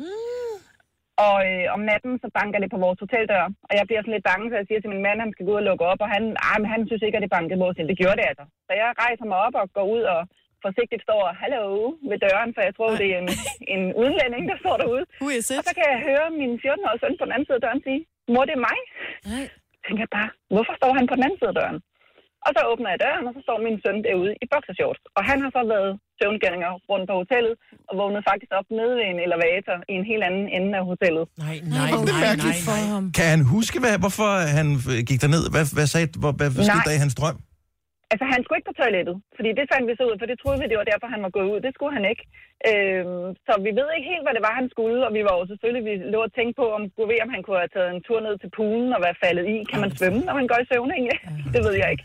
N: Og øh, om natten, så banker det på vores hoteldør. Og jeg bliver sådan lidt bange, så jeg siger til min mand, han skal gå ud og lukke op. Og han, ah, men han synes ikke, at det bankede vores ind. Det gjorde det altså. Så jeg rejser mig op og går ud og forsigtigt står og hallo ved døren, for jeg tror, det er en, en udenlænding, der står derude. Og så kan jeg høre min 14-årige søn på den anden side af døren sige, mor, det er mig. Nej. Tænker jeg bare, hvorfor står han på den anden side af døren? Og så åbner jeg døren, og så står min søn derude i boxershorts. Og han har så været søvngænginger rundt på hotellet, og vågnede faktisk op nede ved en elevator i en helt anden ende af hotellet.
B: Nej,
A: nej, Det er nej, mærkeligt nej, for
N: ham.
A: Kan han huske, hvad, hvorfor han øh, gik derned? Hvad, hvad, sagde, hvor, hvad, hvad skete
N: Nej.
A: der i hans drøm?
N: Altså, han skulle ikke på toilettet, fordi det fandt vi så ud, for det troede vi, det var derfor, han var gået ud. Det skulle han ikke. Øhm, så vi ved ikke helt, hvad det var, han skulle, og vi var jo selvfølgelig, vi lå og tænkte på, om Gud ved, om han kunne have taget en tur ned til poolen og være faldet i. Kan man svømme, når man går i søvn egentlig? Det ved jeg ikke.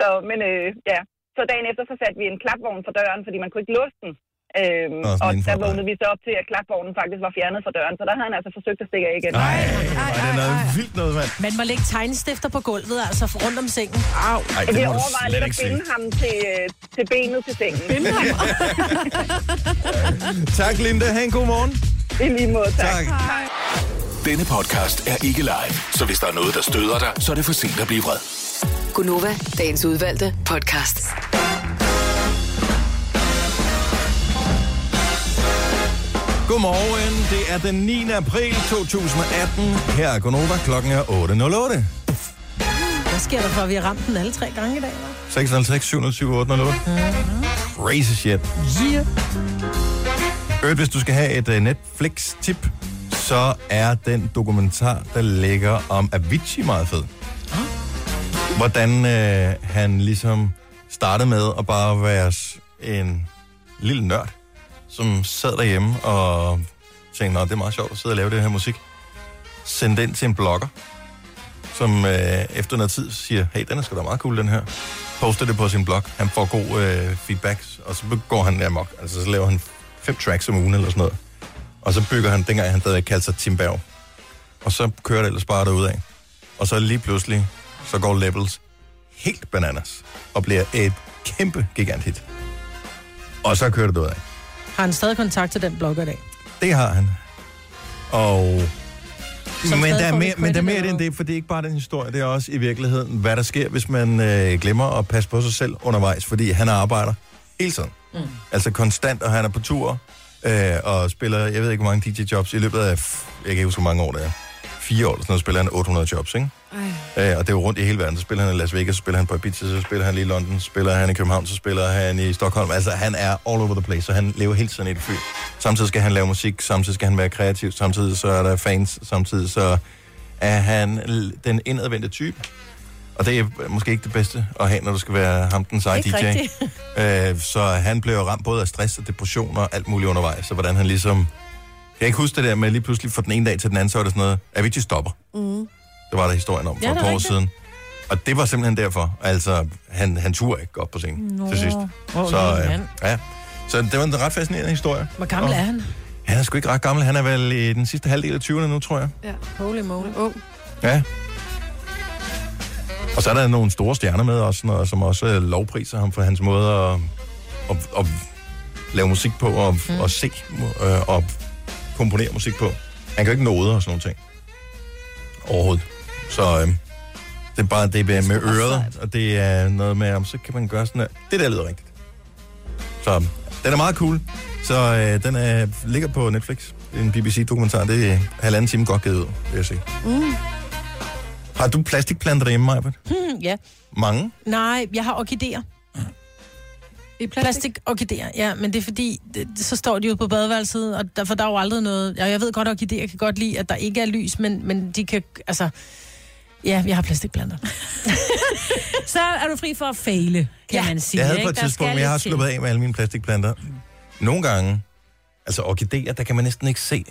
N: Så, men øh, ja. Så dagen efter, så satte vi en klapvogn for døren, fordi man kunne ikke låse den. Øhm,
A: Nå, sådan
N: og
A: indenfor,
N: der
A: nej.
N: vågnede vi så op til, at klapvognen faktisk var fjernet fra døren, så der havde han altså forsøgt at stikke af igen. Nej,
A: Ej, det er noget vildt noget, mand.
B: Man må lægge tegnestifter på gulvet, altså rundt om sengen.
N: Au.
A: Ej, det
N: vi
A: må du
N: overvejer
A: slet
N: lidt
A: ikke
N: at
A: sige.
N: binde ham til, øh, til benet til sengen. Binde ham?
A: Tak, Linda. Ha' en god morgen.
N: I lige måde,
A: tak. tak.
F: Denne podcast er ikke live, så hvis der er noget, der støder dig, så er det for sent at blive vred.
G: Gunova, dagens udvalgte podcast.
A: Godmorgen. Det er den 9. april 2018. Her er Gonova. Klokken er 8.08.
B: Hvad sker der for, at vi har ramt den alle tre gange i dag? hva'?
A: 650 707 808. Crazy shit.
B: Yeah.
A: Øvrigt, hvis du skal have et øh, Netflix-tip, så er den dokumentar, der ligger om Avicii meget fed. Hvordan øh, han ligesom startede med at bare være s- en lille nørd, som sad derhjemme og tænkte, at det er meget sjovt at sidde og lave det her musik. Sendte den til en blogger, som øh, efter noget tid siger, hey, den er sgu da meget cool, den her. Poster det på sin blog. Han får god øh, feedback, og så går han amok. Altså, så laver han fem tracks om ugen eller sådan noget. Og så bygger han, dengang han stadig kaldte sig Tim Berg. Og så kører det ellers bare derudad. Og så lige pludselig, så går Levels helt bananas og bliver et kæmpe gigant hit. Og så kører det derudad.
B: Har han stadig kontakt til den blogger i dag?
A: Det har han. Og...
B: Som
A: men
B: stadig
A: der, er
B: får
A: mere,
B: lidt
A: men der er
B: credit
A: mere i det end det, for det er ikke bare den historie, det er også i virkeligheden, hvad der sker, hvis man øh, glemmer at passe på sig selv undervejs, fordi han arbejder hele tiden. Mm. Altså konstant, og han er på tur øh, og spiller, jeg ved ikke, hvor mange DJ-jobs i løbet af, f- jeg kan ikke huske, hvor mange år det er, fire år eller sådan noget, spiller han 800 jobs, ikke? Øh, og det er jo rundt i hele verden. Så spiller han i Las Vegas, så spiller han på Ibiza, så spiller han lige i London, så spiller han i København, så spiller han i Stockholm. Altså, han er all over the place, og han lever hele tiden i et fly. Samtidig skal han lave musik, samtidig skal han være kreativ, samtidig så er der fans, samtidig så er han l- den indadvendte type. Og det er måske ikke det bedste at have, når du skal være ham den seje DJ.
O: Ikke rigtigt.
A: Øh, så han blev jo ramt både af stress og depression og alt muligt undervejs. Så hvordan han ligesom... Jeg kan ikke huske det der med lige pludselig fra den ene dag til den anden, så var det sådan noget, Avicii stopper.
P: Mm.
A: Det var der historien om for
P: Ja,
A: ja,
P: det
A: et
P: er
A: par år
P: rigtigt.
A: siden. Og det var simpelthen derfor. Altså, han, han turde ikke gå op på scenen
B: Nå.
A: til sidst.
B: Hvor lille
A: så, øh,
B: mand.
A: ja. så det var en ret fascinerende historie.
B: Hvor gammel
A: Og-
B: er han?
A: Han er sgu ikke ret gammel. Han er vel i den sidste halvdel af 20'erne nu, tror jeg.
B: Ja. Holy moly.
C: Ung.
A: Ja. Og så er der nogle store stjerner med også, og, som også øh, lovpriser ham for hans måde at, at, at lave musik på, og, mm. og se øh, og komponere musik på. Han kan jo ikke nåde og sådan nogle ting. Overhovedet. Så øh, det er bare det er med øret, og det er noget med, om så kan man gøre sådan her. Det der lyder rigtigt. Så den er meget cool. Så øh, den er, ligger på Netflix. Det er en BBC-dokumentar. Det er halvanden time godt givet ud, vil jeg sige.
B: Mm.
A: Har du plastikplanter derhjemme, Maja?
B: Hmm, ja.
A: Mange.
B: Nej, jeg har orkideer.
C: I
B: plastik? orkideer, ja, men det er fordi, det, det- så står de jo på badeværelset, og der, for der er jo aldrig noget, og jeg ved godt, at orkideer kan godt lide, at der ikke er lys, men, men de kan, altså, ja, jeg har plastikplanter.
D: Så er du fri for at fejle, kan ja. man sige.
A: Jeg havde
D: ikke?
A: på et
D: Der
A: tidspunkt,
D: skal
A: men jeg har
D: lidt til.
A: sluppet af med alle mine plastikplanter. Nogle gange, altså orkideer, der kan man næsten ikke se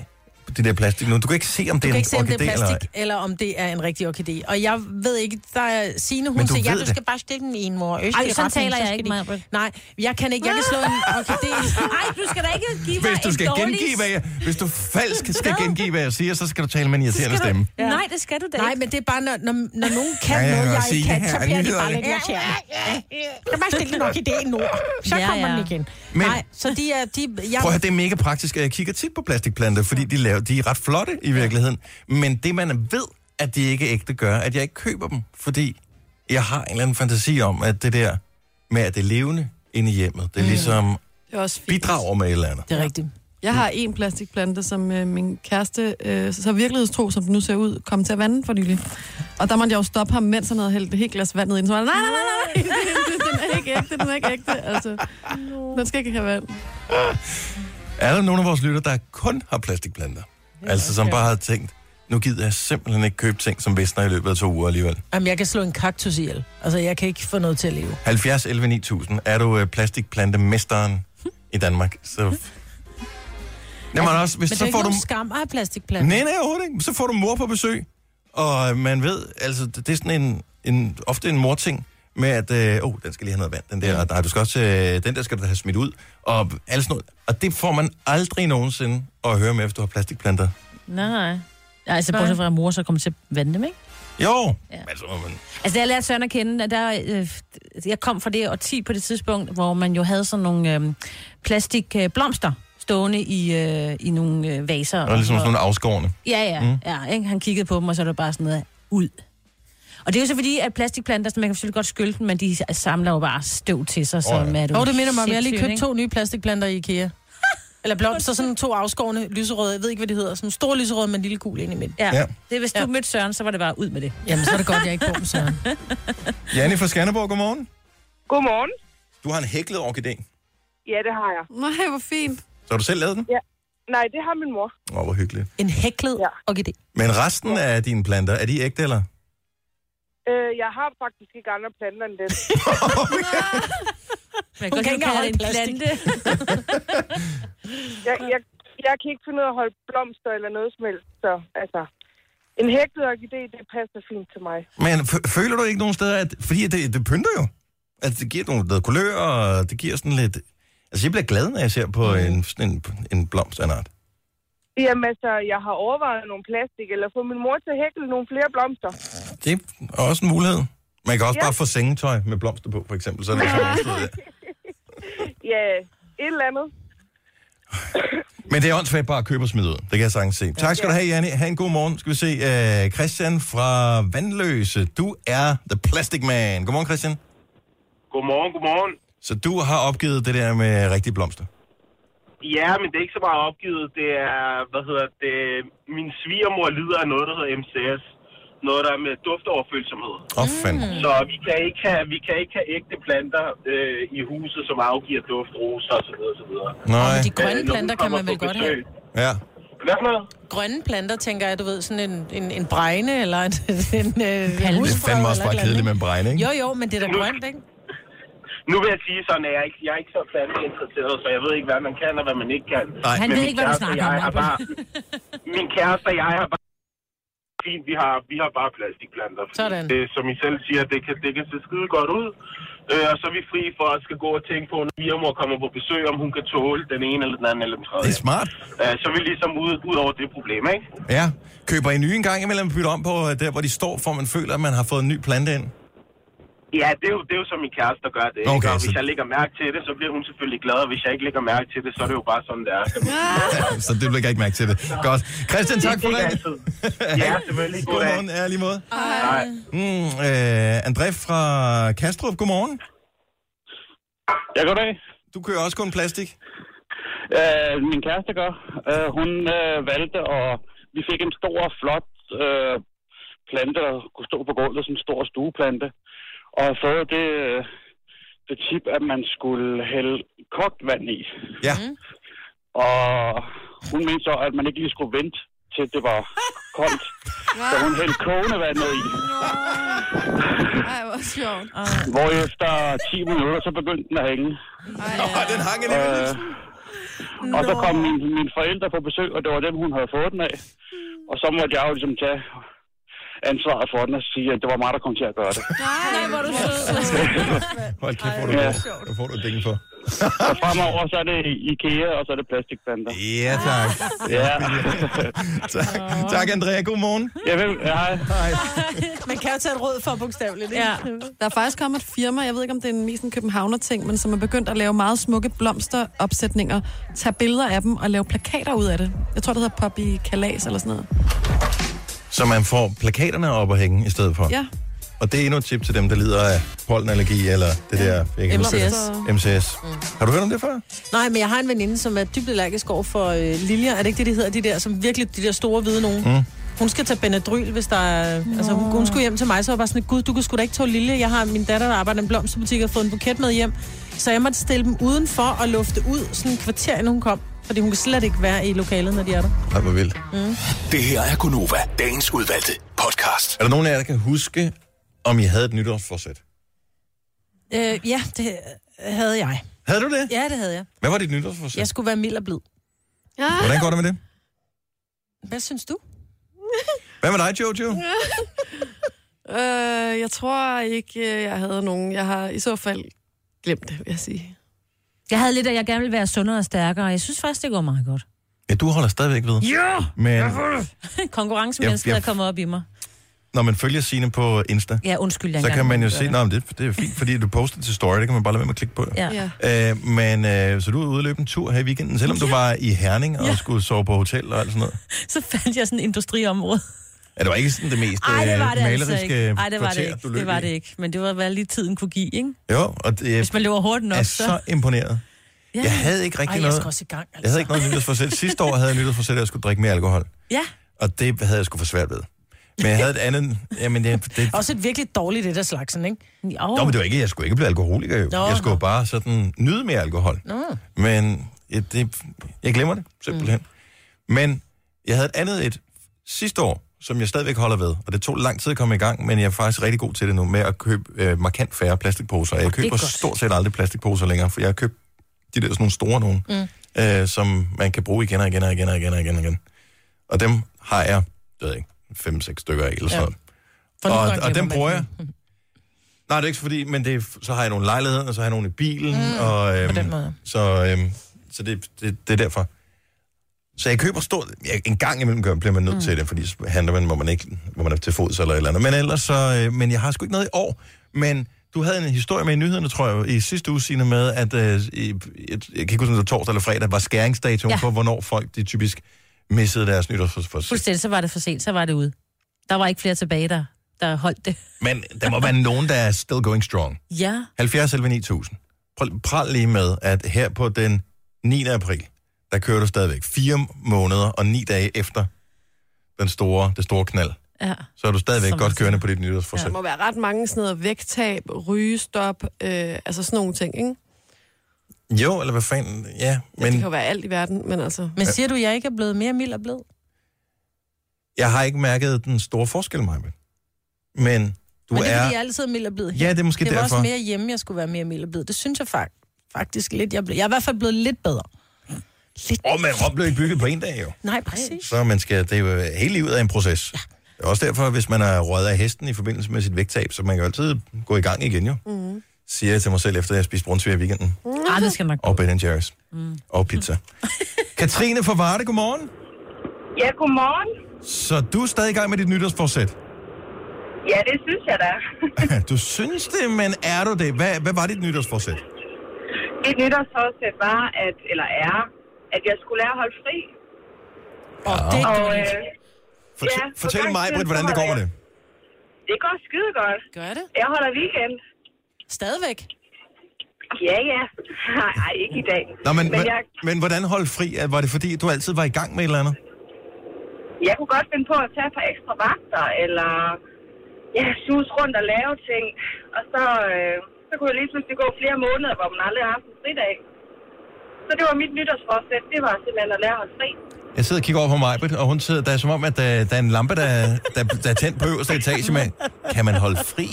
A: det der plastik nu. Du kan ikke se, om det er
B: Du kan
A: en
B: ikke se, om det er
A: orkidé eller ej.
B: plastik, eller om det er en rigtig orkidé. Og jeg ved ikke, der er Signe, hun
A: Men du
B: siger, ja,
A: ved
B: du
A: det.
B: skal bare stikke den i en mor. Øst,
D: Ej,
B: det er
D: sådan
B: retning, så
D: taler jeg
B: skal
D: ikke,
B: de-
D: Maja-Brit.
B: Nej, jeg kan ikke. Jeg kan slå en orkidé.
D: Ej, du skal da ikke give mig
A: Hvis du
D: en
A: skal
D: dårlig...
A: gengive, hvad jeg, hvis du falsk skal
D: Hvad?
A: gengive, hvad jeg siger, så skal du tale med en irriterende stemme.
B: Ja.
D: Nej, det skal du da
B: Nej, men det er bare, når, når, når nogen kan
A: Ja, jeg
B: ja,
A: kan
B: noget, jeg
A: godt
B: ikke
A: sige,
B: kan,
A: ja,
B: så bliver de
A: nyheder
B: bare lidt
A: det.
B: irriterende. Du kan bare stille en orkidé i nord, så
D: Ja,
B: kommer
D: ja.
B: den igen.
A: Men-
B: Nej, så de er... De, jeg,
A: Prøv at høre, det er mega praktisk, og jeg kigger tit på plastikplanter, fordi de, laver, de er ret flotte i virkeligheden. Men det, man ved, at de ikke er ægte, gør, at jeg ikke køber dem, fordi jeg har en eller anden fantasi om, at det der med, at det er levende inde i hjemmet,
B: Mm.
A: det er ligesom
C: Det er også fint.
A: bidrager med et eller andet.
B: Det er rigtigt.
C: Jeg har en plastikplante, som øh, min kæreste, øh, så virkelighedstro, som den nu ser ud, kom til at vande for nylig. Og der måtte jeg jo stoppe ham, mens han havde hældt et helt glas vand ned i den. Så var jeg, nej, nej, nej, nej, den er ikke ægte, den er ikke ægte. Altså, den skal ikke have vand.
A: Er der nogen af vores lytter, der kun har plastikplanter? Altså, som bare har tænkt, nu gider jeg simpelthen ikke købe ting, som visner i løbet af to uger alligevel.
B: Jamen, jeg kan slå en kaktus ihjel. Altså, jeg kan ikke få noget til at leve.
A: 70 11 9000. Er du øh, plastikplantemesteren
B: Hm?
A: i Danmark? Så... Jamen altså, også, hvis,
B: men
A: så
B: det er
A: får
B: ikke
A: du...
B: nogen skam at have plastikplanter.
A: Nej, nej, overhovedet ikke. Så får du mor på besøg. Og øh, man ved, altså, det det er sådan en, en ofte en morting med, at øh, oh, den skal lige have noget vand, den der, og nej, du skal også, øh, den der skal du have smidt ud, og alt sådan noget. Og det får man aldrig nogensinde at høre med, hvis du har plastikplanter.
D: Nej. Nej, altså, bortset fra at mor så kommer til at vande dem, ikke?
A: Jo, ja. altså, må man,
D: Altså, da jeg lærte Søren at kende, at der, øh, jeg kom fra det årti på det tidspunkt, hvor man jo havde sådan nogle øh, plastikblomster øh, blomster stående i, øh, i nogle øh, vaser.
A: og ligesom sådan nogle afskårende.
D: Ja, ja,
A: Mm.
D: mm. ja ikke? Han kiggede på dem, og så er det bare sådan noget ud. Og det er jo så fordi, at plastikplanter, man kan selvfølgelig godt skylle dem, men de samler jo bare støv til sig, så
B: Åh,
D: oh,
B: ja.
D: ja. er
B: Åh, det minder mig om, jeg har lige
D: sindssygt,
B: købt
D: ikke?
B: to nye plastikplanter i IKEA. Eller blomster, sådan to afskårende lyserøde. Jeg ved ikke, hvad de hedder. Sådan en stor lyserød med en lille gul ind i midten.
D: Ja. Det er, hvis du ja. mødte Søren, så var det bare ud med det.
B: Jamen, så er det godt, jeg ikke bor med Søren.
A: Janne fra Skanderborg, godmorgen.
M: Godmorgen.
A: Du har en hæklet orkidé.
M: Ja, det har jeg.
C: Nej, hvor fint.
A: Så har du selv lavet den?
M: Ja. Nej, det har min mor.
A: Åh, oh, hvor hyggeligt.
B: En hæklet ja. orkidé.
A: Men resten af dine planter, er de ægte, eller?
M: Øh, jeg har faktisk ikke andre planter end den.
D: Man kan ikke kalde det en plante.
M: jeg, jeg, jeg kan ikke finde ud af at holde blomster eller noget som helst, så altså... En hæklet orkidé, det passer fint til mig.
A: Men f- føler du ikke nogen steder, at... Fordi det, det pynter jo. Altså, det giver nogle noget kulør, og det giver sådan lidt... Altså, jeg bliver glad, når jeg ser på en, sådan en, en blomst af en art.
M: Jamen altså, jeg har overvejet nogle plastik, eller få min mor til at hækle nogle flere blomster.
A: Det er også en mulighed. Man kan også
M: Ja.
A: ja. bare få sengetøj med blomster på, for eksempel. Så er det sådan overstået, ja.
M: Ja, et eller andet.
A: Men det er åndssvagt bare at købe og smide ud. Det kan jeg sagtens se. Tak skal du have, Janne. Ha' en god morgen. Skal vi se uh, Christian fra Vandløse. Du er the plastic man. Godmorgen, Christian.
J: Godmorgen, godmorgen.
A: Så du har opgivet det der med rigtige blomster.
J: Ja, men det er ikke så meget opgivet. Det er, hvad hedder det, min svigermor lider af noget, der hedder MCS. Noget, der er med duftoverfølsomhed. Mm.
A: Åh, oh, fanden.
J: Så vi kan ikke have, vi kan ikke have ægte planter øh, i huset, som afgiver duft, roser osv. osv.
A: Nej.
J: Øh,
B: De grønne planter kan man vel godt have.
A: Ja.
J: Hvad for noget?
B: Grønne planter, tænker jeg, du ved, sådan en, en, en bregne eller en, en, en øh,
A: Det er
B: husfred
A: fandme også
B: eller
A: bare
B: et eller
A: kedeligt med en bregne,
B: andet.
A: ikke?
B: Jo, jo, men det er da grønt, ikke?
J: Nu vil jeg sige sådan, at jeg er ikke, jeg er ikke så planteinteresseret, så jeg ved ikke, hvad man kan og hvad man ikke kan.
A: Nej. Han
J: Men
A: ved
J: min
A: ikke, hvad du
J: kæreste og
A: snakker om,
J: jeg har
A: Michael.
J: bare, Min kæreste og jeg har bare... Fint, vi har, vi har bare plastikplanter. fordi
B: Sådan.
J: Det, som I selv siger, det kan, det kan se skide godt ud. Øh, og så er vi fri for at skal gå og tænke på, når Irmor kommer på besøg, om hun kan tåle den ene eller den anden eller den tredje.
A: Det er smart.
J: Øh, så er vi ligesom ud, ud over det problem, ikke?
A: Ja. Køber I nye en gang imellem bytter om på øh, der, hvor de står, for man føler, at man har fået en ny plante ind?
J: Ja, det er jo, det er jo som min kæreste, der gør det. ikke?
A: Okay,
J: og hvis
A: så-
J: jeg lægger mærke til det, så bliver hun selvfølgelig glad, og hvis jeg ikke lægger mærke til det, så er det jo bare sådan, det er.
A: Ja, så det lægger jeg ikke mærke til det. Godt. Christian, tak for det.
J: Ja, selvfølgelig.
A: Godmorgen, ærlig måde.
J: Hej.
A: Mm, øh, André fra Kastrup, godmorgen.
O: Ja, goddag.
A: Du kører også kun plastik?
O: Øh, min kæreste gør. Øh, hun øh, valgte, og vi fik en stor, flot øh, plante, der kunne stå på gulvet, sådan en stor stueplante. Og så det, øh, det tip, at man skulle hælde kogt vand i.
A: Ja.
O: Og hun mente så, at man ikke lige skulle vente til det var koldt. Så hun hældte kogende vand ned i.
C: Ej, hvor sjovt.
O: Hvor efter 10 minutter, så begyndte den at hænge.
A: Nå, den hang i
O: øh, Og så kom min, mine forældre på besøg, og det var dem, hun havde fået den af. Og så måtte jeg jo ligesom tage ansvaret for den og sige, at det var mig, der kom til at gøre det.
B: Nej, hvor er du sød.
A: Hold kæft, hvor du,
O: Ja.
A: hvor får du penge for.
O: Og fremover, så er det IKEA, og så er det plastikplanter.
A: Ja, tak.
O: Ja.
A: tak. Tak, Andrea. Godmorgen.
O: Ja, vel, hej.
B: Man kan jo tage et rød for bogstaveligt, ikke?
C: Ja. Der er faktisk kommet et firma, jeg ved ikke, om det er en mest en københavner-ting, men som er begyndt at lave meget smukke blomsteropsætninger, tage billeder af dem og lave plakater ud af det. Jeg tror, det hedder Poppy Kalas eller sådan noget.
A: Så man får plakaterne op at hænge i stedet for.
C: Ja.
A: Og det er endnu et tip til dem, der lider af pollenallergi eller det der... Jeg kan huske
B: MCS.
A: det. MCS. Har du hørt om det før?
B: Nej, men jeg har en veninde, som er dybt allergisk over for øh, liljer. Er det ikke det, de hedder, de der, som virkelig de der store hvide nogen?
A: Mm.
B: Hun skal tage Benadryl, hvis der er... Altså, hun, hun skulle hjem til mig, så var jeg bare sådan, gud, du kan sgu da ikke tåle lilje. Jeg har min datter, der arbejder i en blomsterbutik, og har fået en buket med hjem. Så jeg måtte stille dem udenfor og lufte ud sådan en kvarter, inden hun kom. Fordi hun kan slet ikke være i lokalet, når de er der.
A: Nej, hvor vildt.
B: Mm.
F: Det her er Gunova, dagens udvalgte podcast.
A: Er der nogen af jer, der kan huske, om I havde et nytårsforsæt?
B: Øh, ja, det havde jeg.
A: Havde du det?
B: Ja, det havde jeg.
A: Hvad var dit nytårsforsæt?
B: Jeg skulle være mild og blid. Ja.
A: Hvordan går det med det?
B: Hvad synes du?
A: Hvad med dig, Jojo?
C: øh, jeg tror ikke, øh, jeg havde nogen. Jeg har i så fald glemt det, vil jeg sige.
D: Jeg havde lidt, at jeg gerne ville være sundere og stærkere, og jeg synes faktisk, det går meget godt.
A: Ja, du holder stadigvæk ved.
D: Ja!
A: Men,
D: Konkurrencemennesket
A: Jeg-
D: jeg,
A: jeg-
D: er kommet op i mig.
A: når man følger sine på Insta,
D: Ja, undskyld, jeg
A: så
D: engang
A: kan man jo
D: gjorde
A: se,
D: det.
A: at det, det er fint, fordi du poster til story, det kan man bare lade være med at klikke på.
D: Ja. Ja.
A: Øh, men øh, så du er ude og løbe en tur her i weekenden, selvom du var i Herning og
D: Ja.
A: skulle sove på hotel og alt sådan noget.
D: Så fandt jeg sådan et industriområde.
A: Ja, det var ikke sådan det mest
D: Nej, det var det
A: øh,
D: altså
A: maleriske
D: ikke. Ej, det var det
A: kvarter,
D: ikke.
A: du løb
D: Det var
A: i.
D: det ikke. Men det var, hvad lige tiden kunne give, ikke?
A: Jo, og det,
D: Hvis man løber hurtigt nok,
A: er
D: så-
A: så imponeret.
D: Ja.
A: Jeg havde ikke rigtig
D: Ej, jeg
A: noget...
D: skal også i gang,
A: Jeg havde ikke noget nytårsforsæt. Sidste år havde jeg nytårsforsæt, at jeg skulle drikke mere alkohol.
D: Ja.
A: Og det havde jeg sgu for svært ved. Men jeg havde et andet... Jamen, det, det,
B: Også et virkelig dårligt et af slagsen, ikke? Jo.
A: Nå, men det var ikke, jeg skulle ikke blive alkoholiker jo.
B: Nå,
A: jeg skulle bare sådan nyde mere alkohol.
B: Nå.
A: Men ja, det, jeg glemmer det, simpelthen. Mm. Men jeg havde et andet et sidste år, som jeg stadigvæk holder ved. Og det tog lang tid at komme i gang, men jeg er faktisk rigtig god til det nu med at købe øh, markant færre plastikposer. Jeg
F: det er
A: køber
F: godt.
A: stort set aldrig plastikposer længere, for jeg har købt de der sådan nogle store nogen,
F: Mm.
A: øh, som man kan bruge igen og igen og igen og igen og igen. Og, igen. og dem har jeg, jeg ved ikke, fem-seks stykker af eller
F: Ja.
A: sådan noget.
F: For nogle gange
A: Og, og
F: glemmer
A: dem
F: man
A: bruger jeg. Nej, det er ikke fordi, men det er, så har jeg nogle lejligheder, og så har jeg nogle i bilen, mm, og øhm,
B: på den måde.
A: så, øhm, så det, det, det er derfor. Så jeg køber stort, ja, en gang imellem gør, bliver man nødt mm. til det, fordi så handler man, hvor man, ikke, hvor man er til fods eller et eller andet. Men ellers så, øh, men jeg har sgu ikke noget i år, men du havde en historie med i nyhederne, tror jeg, i sidste uge, Signe, med, at øh, i, jeg, jeg kan ikke huske, om det var torsdag eller fredag, var skæringsdatoen ja.
D: Ja.
A: for, hvornår folk de typisk missede deres nytårsforsæt.
D: Fuldstændig, så var det for sent, så var det ude. Der var ikke flere tilbage, der, der holdt det.
A: Men der må være nogen, der er still going strong.
D: Ja.
A: 70 11 9000. Prøv- Pral lige med, at her på den 9. april, der kører du stadigvæk fire måneder og ni dage efter den store, det store knald.
C: Ja.
A: Så er du stadigvæk
C: Som
A: godt
C: man
A: kørende på dit
C: Ja. Der
A: nytårsforsæt.
C: må være ret mange sådan noget vægttab, rygestop, øh, altså sådan nogle ting, ikke?
A: Ja. Jo, eller hvad fanden, ja.
C: Men...
A: Men
C: Det kan jo være alt i verden, men altså...
B: Men siger du, jeg ikke er blevet mere mild og blød?
A: jeg har ikke mærket den store forskel, Maja. Men du
B: Men det er,
A: er...
B: fordi jeg altid er mild og blid.
A: Ja, det er måske
B: det var
A: derfor.
B: også mere hjemme, jeg skulle være mere mild og blid. Det synes jeg fak- faktisk lidt. Jeg, blev, jeg er i hvert fald blevet lidt bedre.
A: Åh, men Rom blev ikke bygget på en dag, jo.
B: Nej, præcis.
A: Så man skal, det er jo hele livet er en proces. Ja. Det er også derfor, hvis man er røget af hesten i forbindelse med sit vægttab, så man kan jo altid gå i gang igen, jo.
C: Mm.
A: Siger jeg til mig selv, efter jeg har spist brunsvig i weekenden.
D: Ah, Mm-hmm. det skal nok.
A: Og Ben Jerry's. Mm. Og pizza. Katrine fra Varde, godmorgen.
M: Ja, godmorgen.
A: Så du er stadig i gang med dit nytårsforsæt.
M: Ja, det synes jeg da.
A: du synes det, men er du det? Hvad, hvad var dit nytårsforsæt?
M: Mit nytårsforsæt var, at, eller er, at jeg skulle lære at holde fri.
A: Og Ah. det er
M: og,
A: godt.
M: øh,
A: Fortæl,
M: ja,
A: ja,
M: for
A: fortæl
M: gang
A: mig,
M: siden,
A: Britt, hvordan
M: så
A: det går med
M: holder
A: det.
M: Det går skide godt.
B: Gør det?
M: Jeg holder weekend.
B: Stadigvæk?
M: Ja, ja. Nej, ikke i dag.
A: Nå, men, men,
M: jeg,
A: men hvordan holde fri? Var det fordi, du altid var i gang med et eller andet?
M: jeg kunne godt finde på at tage et par ekstra vagter, eller ja, sus rundt og lave ting. Og så, øh, så kunne jeg lige pludselig gå flere måneder, hvor man aldrig har haft en fridag. Så det var mit nytårsforsæt. Det var simpelthen at lære at holde fri.
A: Jeg sidder og kigger over på mig, og hun sidder, der er som om, at øh, der, der er en lampe, der, der, der er tændt på øverste etage med. Kan man holde fri?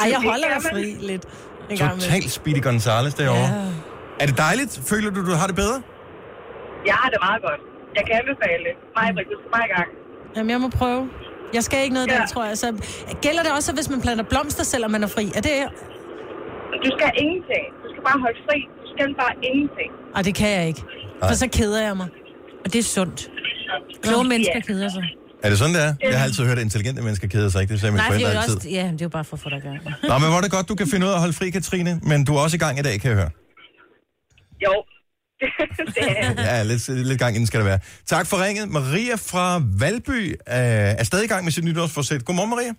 B: Ej, jeg holder jer fri lidt. En gang imellem.
A: Totalt Speedy Gonzales derovre. Ja. Er det dejligt? Føler du, du har det bedre?
M: Jeg har det meget godt. Jeg kan anbefale det. Mig, Britt, du skal bare i gang.
B: Jamen, jeg må prøve. Jeg skal ikke noget ja. der, tror jeg. Så gælder det også, hvis man planter blomster, selvom man er fri? Er det...
M: Du skal ingenting. Du skal bare holde fri. Du skal bare ingenting.
B: Ej, det kan jeg ikke. Nej. For så keder jeg mig. Og det er sundt.
D: Kloge mennesker keder sig.
A: Er det sådan, det er? Jeg har altid hørt, at intelligente mennesker keder sig ikke. Det sagde mine
D: Nej, det
A: forældre
D: er jo
A: altid.
D: også... Ja, det er jo bare for at få dig i gang.
A: Nå, men hvor er det godt, du kan finde ud af at holde fri, Katrine. Men du er også i gang i dag, kan jeg høre.
M: Jo. det er
A: Ja, lidt, lidt gang inden skal det være. Tak for ringet. Maria fra Valby øh, er stadig i gang med sit nytårsforsæt. Godmorgen, Maria.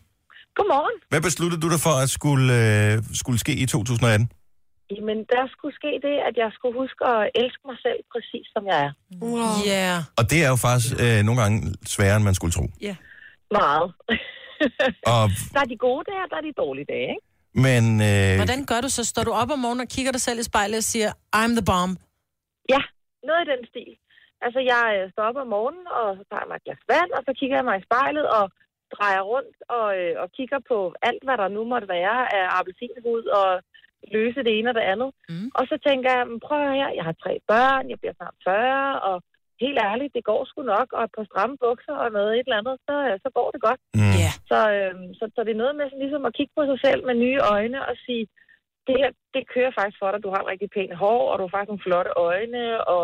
P: Godmorgen.
A: Hvad besluttede du dig for, at skulle, øh, skulle ske i 2018?
P: Jamen, der skulle ske det, at jeg skulle huske at elske mig selv præcis som jeg er.
B: Wow. Yeah.
A: Og det er jo faktisk øh, nogle gange sværere, end man skulle tro.
B: Ja.
P: Meget.
A: Og,
P: Der er de gode dage, og der er de dårlige dage, ikke?
A: men øh,
B: Hvordan gør du så? Står du op om morgenen og kigger dig selv i spejlet og siger, I'm the bomb?
P: Ja, noget i den stil. Altså, jeg øh, står op om morgenen, og så tager jeg mig et glas vand, og så kigger jeg mig i spejlet og drejer rundt og, øh, og kigger på alt, hvad der nu måtte være af appelsinhud og løse det ene og det andet. Mm. Og så tænker jeg, "Men prøv at høre her, jeg har tre børn, jeg bliver snart 40, og helt ærligt, det går sgu nok, og et par stramme bukser og noget et eller andet, så, øh, så går det godt.
A: Mm.
B: Yeah.
P: Så, øh, så, så det er noget med sådan, ligesom at kigge på sig selv med nye øjne og sige, det her, det kører faktisk for dig. Du har et rigtig pænt hår, og du har faktisk nogle flotte øjne, og...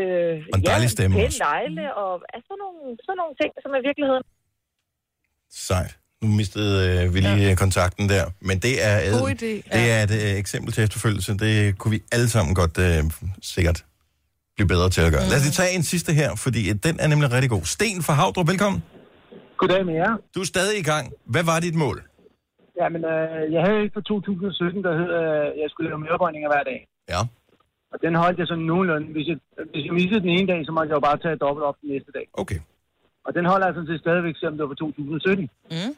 P: Øh,
A: Og en dejlig stemme
P: pæn
A: også.
P: negle, og altså, sådan, nogle, sådan nogle ting, som er virkeligheden.
A: Sejt. Nu mistede øh, vi lige ja. kontakten der. Men det er, øh,
P: God idé.
A: det er et øh, eksempel til efterfølgelse. Det kunne vi alle sammen godt øh, sikkert blive bedre til at gøre. Mm. Lad os lige tage en sidste her, fordi øh, den er nemlig rigtig god. Sten fra Havdrup, velkommen.
Q: Goddag med jer.
A: Du er stadig i gang. Hvad var dit mål?
Q: Jamen, øh, jeg havde et for 2017, der hed, øh, jeg skulle lave mørbøjninger hver dag.
A: Ja.
Q: Og den holdt jeg sådan nogenlunde. Hvis jeg, hvis jeg missede den ene dag, så måtte jeg jo bare tage dobbelt op den næste dag.
A: Okay.
Q: Og den holder jeg sådan set stadigvæk, selvom det var for 2017.
B: Mm.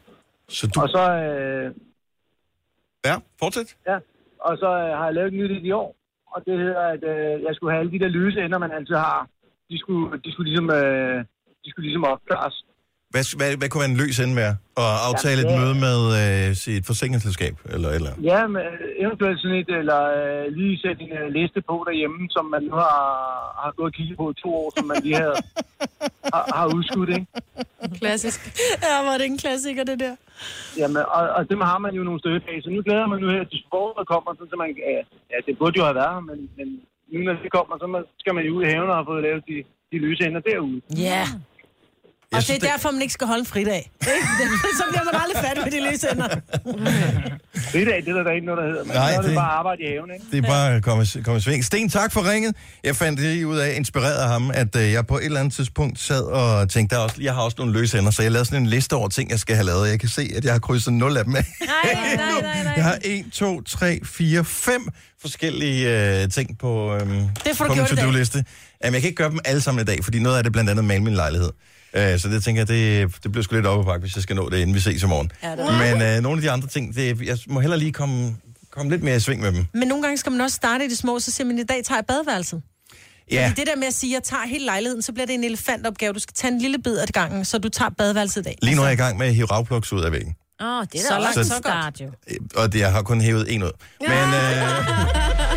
A: Så du...
Q: Og så... Øh,
A: ja, fortsæt.
Q: Ja, og så øh, har jeg lavet et nyt i de år. Og det hedder, at øh, jeg skulle have alle de der lyse ender, man altid har. De skulle, de skulle ligesom... Øh, de skulle ligesom opklares.
A: Hvad, hvad, hvad kunne man løs ende være? Og aftale
Q: Ja,
A: et
Q: det-
A: møde med øh, sit forsikringsselskab? Eller, eller.
Q: Ja, men øh, eventuelt sådan et, eller øh, lige sætte en øh, liste på derhjemme, som man nu har, har gået og kigget på i to år, som man lige havde, har, har udskudt, ikke?
B: Klassisk. ja, var det en klassiker, det der.
Q: Jamen, og, og dem har man jo nogle stykker af, så nu glæder man nu her til foråret, der kommer, sådan, så man, kan- ja, ja, det burde jo have været, her, men, men nu når det kommer, så man, skal man jo ud i haven og have fået lavet de, de lyse ender derude.
B: Ja. Og det er derfor, man ikke skal holde en fridag. så bliver man aldrig fat med de løse ender.
Q: Det er det, er der, der er ikke noget, der hedder, men
A: Nej,
Q: Nej, så er det,
A: det-
Q: det bare arbejde i haven, ikke?
A: Det er bare at komme, komme i sving. Sten, tak for ringet. Jeg fandt det ud af, inspireret af ham, at øh, jeg på et eller andet tidspunkt sad og tænkte, der er også, jeg har også nogle løse ender, så jeg lavede sådan en liste over ting, jeg skal have lavet. Jeg kan se, at jeg har krydset nul af dem af.
I: Nej, nej, nej, nej.
A: Jeg har 1, 2, 3, 4, 5 forskellige øh, ting på, øhm,
B: Det får du
A: på min
B: gjort i dag.
A: to-do-liste. Jamen, jeg kan ikke gøre dem alle sammen i dag, fordi noget af det blandt andet at male min lejlighed. Øh, så det tænker jeg, det, det bliver sgu lidt op bakke, hvis jeg skal nå det, inden vi ses i morgen.
B: Ja, det er
A: Men øh, nogle af de andre ting, det, jeg må hellere lige komme, komme lidt mere i sving med dem.
B: Men nogle gange skal man også starte i det små, så siger man, i dag tager jeg badeværelset.
A: Ja,
B: Fordi det der med at sige, at jeg tager hele lejligheden, så bliver det en elefantopgave. Du skal tage en lille bid ad gangen, så du tager badeværelset i dag.
A: lige nu er jeg i gang med at hive ravplugs ud af væggen.
D: Åh, oh, det er
B: Så
D: da
B: langt,
D: også en
B: så godt.
D: start, jo.
A: Og det, jeg har kun hævet en ud. Men øh,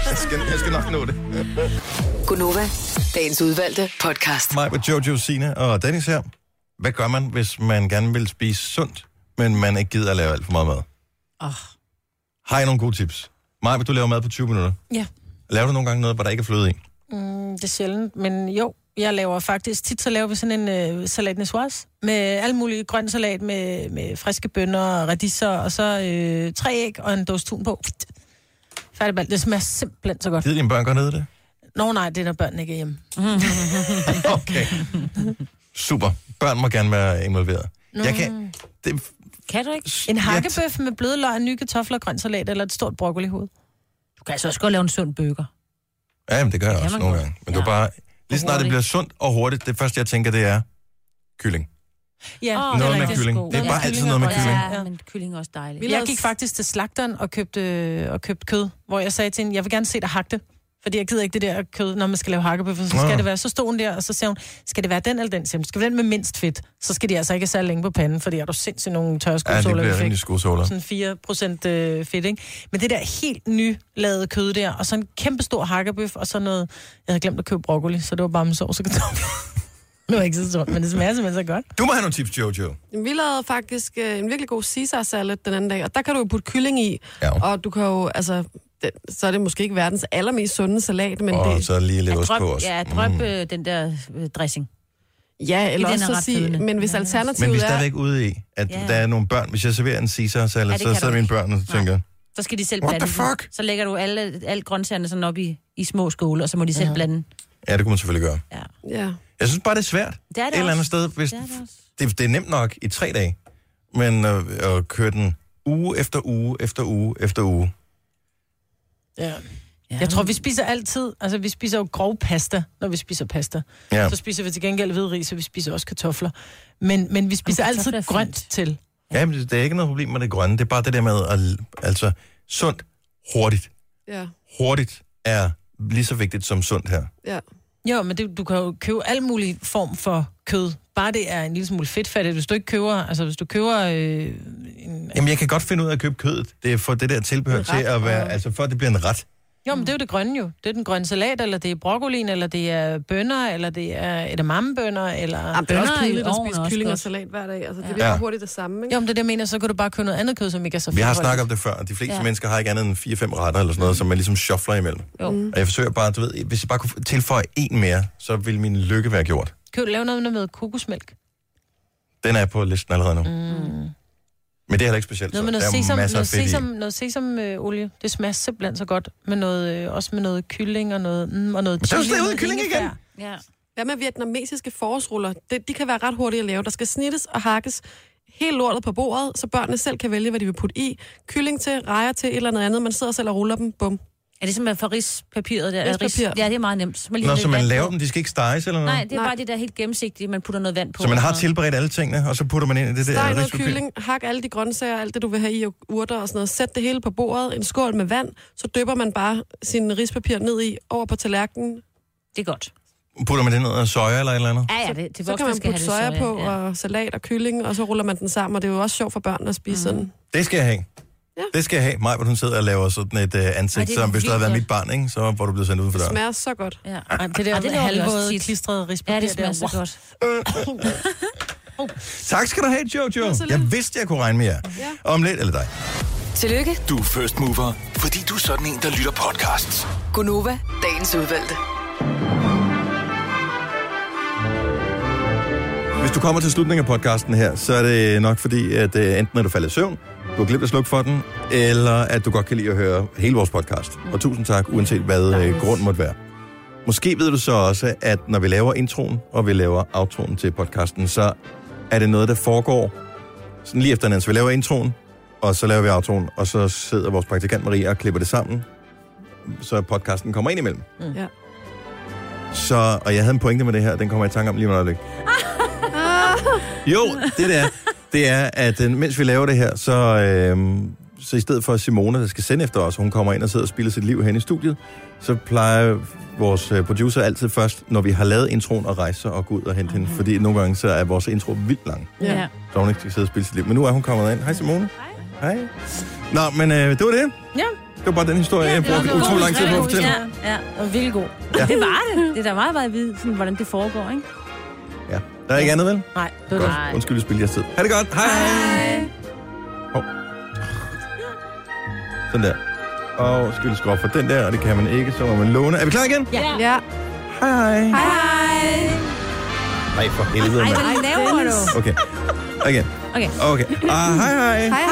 A: jeg, skal, jeg skal nok nå det.
G: Gunova, dagens udvalgte podcast.
A: Mig med Jojo, Sina og Dennis her. Hvad gør man, hvis man gerne vil spise sundt, men man ikke gider at lave alt for meget mad?
D: Oh.
A: Har I nogle gode tips? Maja, vil du lave mad på 20 minutter?
B: Ja.
A: Laver du nogle gange noget, hvor der ikke er fløde i?
B: Mm, det er sjældent, men jo, jeg laver faktisk, tit så laver vi sådan en øh, salat niçoise, med alle mulige grøn salat, med, med friske bønner og radiser, og så øh, tre æg og en dåse tun på. Færdig bal. Det smager simpelthen så godt.
A: Gider dine børn godt ned det?
B: Nå nej, det er når børnene ikke er hjemme.
A: Okay. Super. Børn må gerne være involveret. Jeg
B: Mm.
A: kan... Det,
D: Kan du ikke?
B: En hakkebøf med bløde løg, nye kartofler, grøn salat eller et stort broccolihoved.
D: Du kan altså også godt lave en sund bøger.
A: ja, jamen, det gør jeg
D: kan
A: også
D: man
A: nogle
D: godt.
A: gange. Men ja. du bare... Lige snart det
D: hurtigt.
A: bliver sundt og hurtigt, det første, jeg tænker, det er kylling.
B: Ja,
A: Noget med kylling. Det er bare altid noget med kylling.
D: Ja, men kylling er også dejligt.
B: Jeg gik faktisk til slagteren og købte, og købte kød, hvor jeg sagde til hende, jeg vil gerne se dig hakke det. Fordi jeg gider ikke det der kød, når man skal lave hakkebøf, så skal
A: Nå.
B: det være. Så stod hun der, og så sagde hun, skal det være den eller den? Siger hun, skal det være den med mindst fedt? Så skal de altså ikke have særlig længe på panden, fordi er du sindssygt nogle tørre
A: Ja, det
B: skosåler,
A: bliver rimelig skosåler.
B: Sådan 4 procent øh, fedt, ikke? Men det der helt nylavede kød der, og så en kæmpe stor hakkebøf, og så noget... Jeg havde glemt at købe broccoli, så det var bare med sovs og kartofler. det var ikke så sundt, men det smager simpelthen så godt.
A: Du må have nogle tips, Jojo.
C: Jamen, Vi lavede faktisk øh, en virkelig god Caesar salad den anden dag, og der kan du jo putte kylling i, ja. og du kan jo, altså, det, så er det måske ikke verdens allermest sunde salat, men
A: Og
C: det,
A: så lige lidt ost
D: drøb,
A: på også. Mm.
D: Ja, drøb øh, den der øh, dressing.
C: ja, eller
D: den
C: også
D: er
C: så
D: ret
C: sige,
D: flydende.
C: men hvis
A: Men vi er
C: alternativet er,
A: stadigvæk ude i, at
D: Ja.
A: der er nogle børn. Hvis jeg serverer en Caesar-salad,
D: Ja, det kan
A: så
D: du
A: sidder mine
D: ikke.
A: børn og tænker,
D: Så skal de selv
A: What
D: blande
A: the
D: den.
A: fuck?
D: Så lægger du alle, alle grøntsagerne sådan op i, i små skåle, og så må de selv ja. blande.
A: ja, det kunne man selvfølgelig gøre.
C: ja.
A: Jeg synes bare, det er svært.
D: Det er det
A: Et eller andet
D: også.
A: sted. Hvis,
D: Det er det
A: det, det er nemt nok i tre dage, men øh, at køre den uge efter uge efter uge efter uge.
B: Ja. Jeg tror, vi spiser altid, altså vi spiser jo grov pasta, når vi spiser pasta.
A: Ja.
B: Så spiser vi til gengæld hvidris, og vi spiser også kartofler. Men, men vi spiser
D: kartofler er
B: altid
D: fint.
B: grønt til.
A: Ja, men det er ikke noget problem med det grønne. Det er bare det der med, at, altså sundt, hurtigt.
C: ja,
A: Hurtigt er lige så vigtigt som sundt her.
C: ja.
B: Jo, men det, du kan jo købe al mulig form for kød. Bare det er en lille smule fedtfattigt. Hvis du ikke køber, altså hvis du køber øh,
A: Jamen, jeg kan godt finde ud af at købe kødet. Det er for det der tilbehør
B: En
A: til
B: ret,
A: at være,
B: og-
A: altså for at det bliver en ret.
B: Jo, men det er jo det grønne jo. Det er den grønne salat, eller det er broccolien, eller det er bønner, eller det er edamamebønner, eller...
C: Jamen, det er også
B: Bønner i
C: kedeligt at
B: ovnen er
C: spise
B: også
C: kylling og
B: godt.
C: salat hver dag, altså det
B: Ja.
C: bliver
A: Ja.
C: ja. hurtigt det samme, ikke?
B: Jo, men det er det, jeg mener, så kan du bare købe noget andet kød, som ikke er så
A: Vi har
B: fedtholdigt.
A: snakket om det før, og de fleste
B: Ja.
A: ja. mennesker har ikke andet end 4-5 retter eller sådan noget, som man ligesom shuffler imellem.
B: Jo.
A: Og jeg forsøger bare, du ved, hvis jeg bare kunne tilføje en mere, så ville min lykke være gjort.
B: Kan du lave noget med kokosmælk?
A: Den er på listen allerede nu. Mm. Men det er heller ikke specielt.
B: Noget
A: så
B: med noget
A: der er
B: sesam,
A: masser
B: noget
A: af fedt i.
B: sesam, noget sesamolie. Det smager simpelthen så godt. Med noget, øh, også med noget kylling og noget, mm, og noget
A: Men der er jo
B: chili.
A: slet
B: og
A: uden kylling
B: ingefær.
A: igen.
D: Ja.
C: Hvad med vietnamesiske forårsruller? De, de kan være ret hurtige at lave. Der skal snittes og hakkes helt lortet på bordet, så børnene selv kan vælge, hvad de vil putte i. Kylling til, rejer til, et eller noget andet. Man sidder selv og ruller dem. Bum.
D: Er det som at få rispapiret der? Ris,
C: Rispapir.
D: ja, det er meget nemt. Så man
A: Nå,
D: lidt
A: så man
D: vand
A: laver
D: på.
A: dem, de skal ikke steges eller noget?
D: Nej, det er bare det der helt gennemsigtige, man putter noget vand på.
A: så man har
D: og-
A: tilberedt alle tingene, og så putter man ind i det der
C: Steg noget
A: rispapir.
C: kylling, hak alle de grøntsager, alt det du vil have i, og urter og sådan noget. Sæt det hele på bordet, en skål med vand, så dypper man bare sin rispapir ned i, over på tallerkenen.
D: Det er godt.
A: Putter man det ned af soja eller et eller andet?
D: Ja, ja, det, det
C: Så kan man putte soja, på, og salat og kylling, og så ruller man den sammen, og det er jo også sjovt for børn at
D: Mhm.
C: spise mm. sådan.
A: Det skal jeg have. Ja. Det skal jeg have. Maj, hvor hun sidder og laver sådan et uh,
C: Ej,
A: ansigt,
C: det er
A: som hvis du havde været
C: vildt
A: mit barn, ikke? så var du blevet sendt ud for
C: Det
A: døren.
C: smager så godt.
D: Ja.
B: Ej, det der
D: Ej, det laver vi også
B: halvvåde,
D: tit.
B: klistrede rispapir.
D: Ja, det smager så
B: der.
D: godt.
A: Tak skal du have, Jojo.
F: så lidt.
A: Jeg vidste, jeg kunne regne med jer.
F: Ja.
A: Om lidt, eller dig.
G: Tillykke,
F: Du er first mover, fordi du er sådan en, der lytter podcasts.
G: Gunova, dagens udvalgte.
A: Hvis du kommer til slutningen af podcasten her, så er det nok fordi, at øh, enten er du faldet i søvn, du har glemt at slukke for den, eller at du godt kan lide at høre hele vores podcast. Og tusind tak, uanset hvad øh, grund måtte være. Måske ved du så også, at når vi laver introen og vi laver outroen til podcasten, så er det noget, der foregår sådan lige efter hinanden. Så vi laver introen, og så laver vi outroen, og så sidder vores praktikant Maria og klipper det sammen, så podcasten kommer ind imellem.
C: Mm. Ja.
A: Så, og jeg havde en pointe med det her, den kommer jeg i tanke om lige om et øjeblik.
D: Ah.
A: Jo, det der, det er, at øh, mens vi laver det her, så, øh, så i stedet for Simone, der skal sende efter os, hun kommer ind og sidder og spiller sit liv hen i studiet, så plejer vores øh, producer altid først, når vi har lavet introen, at rejse sig og gå ud og hente okay. hende, fordi nogle gange så er vores intro vildt lang,
R: Ja.
A: så hun ikke skal sidde og spille sit liv. Men nu er hun kommet ind. Hej Simone. Hej. Hej. Nå, men øh, det var det.
S: Ja.
A: Det var bare den historie, jeg brugte utrolig lang tid på at fortælle.
D: Ja, ja.
S: Og vildt god.
A: Ja.
D: Ja. Det var det. Det er da meget bare at vide, sådan, hvordan det foregår, ikke?
A: Ja. Der er ikke andet, vel?
S: Nej,
D: det var
A: Godt.
D: det.
A: Undskyld, jeg spildte jeres tid. Ha' det godt. Hej. Hej. Hov. Sådan der. Og skyld skrop for den der, og det kan man ikke, så må man låne. Er vi klar igen?
C: Ja. ja.
A: Hej.
C: Hej.
A: Nej, for helvede,
D: Ej,
A: mand.
D: hvad laver du?
A: Okay. Okay.
D: Okay.
A: Okay. Ah, hej, hej.
C: Hej,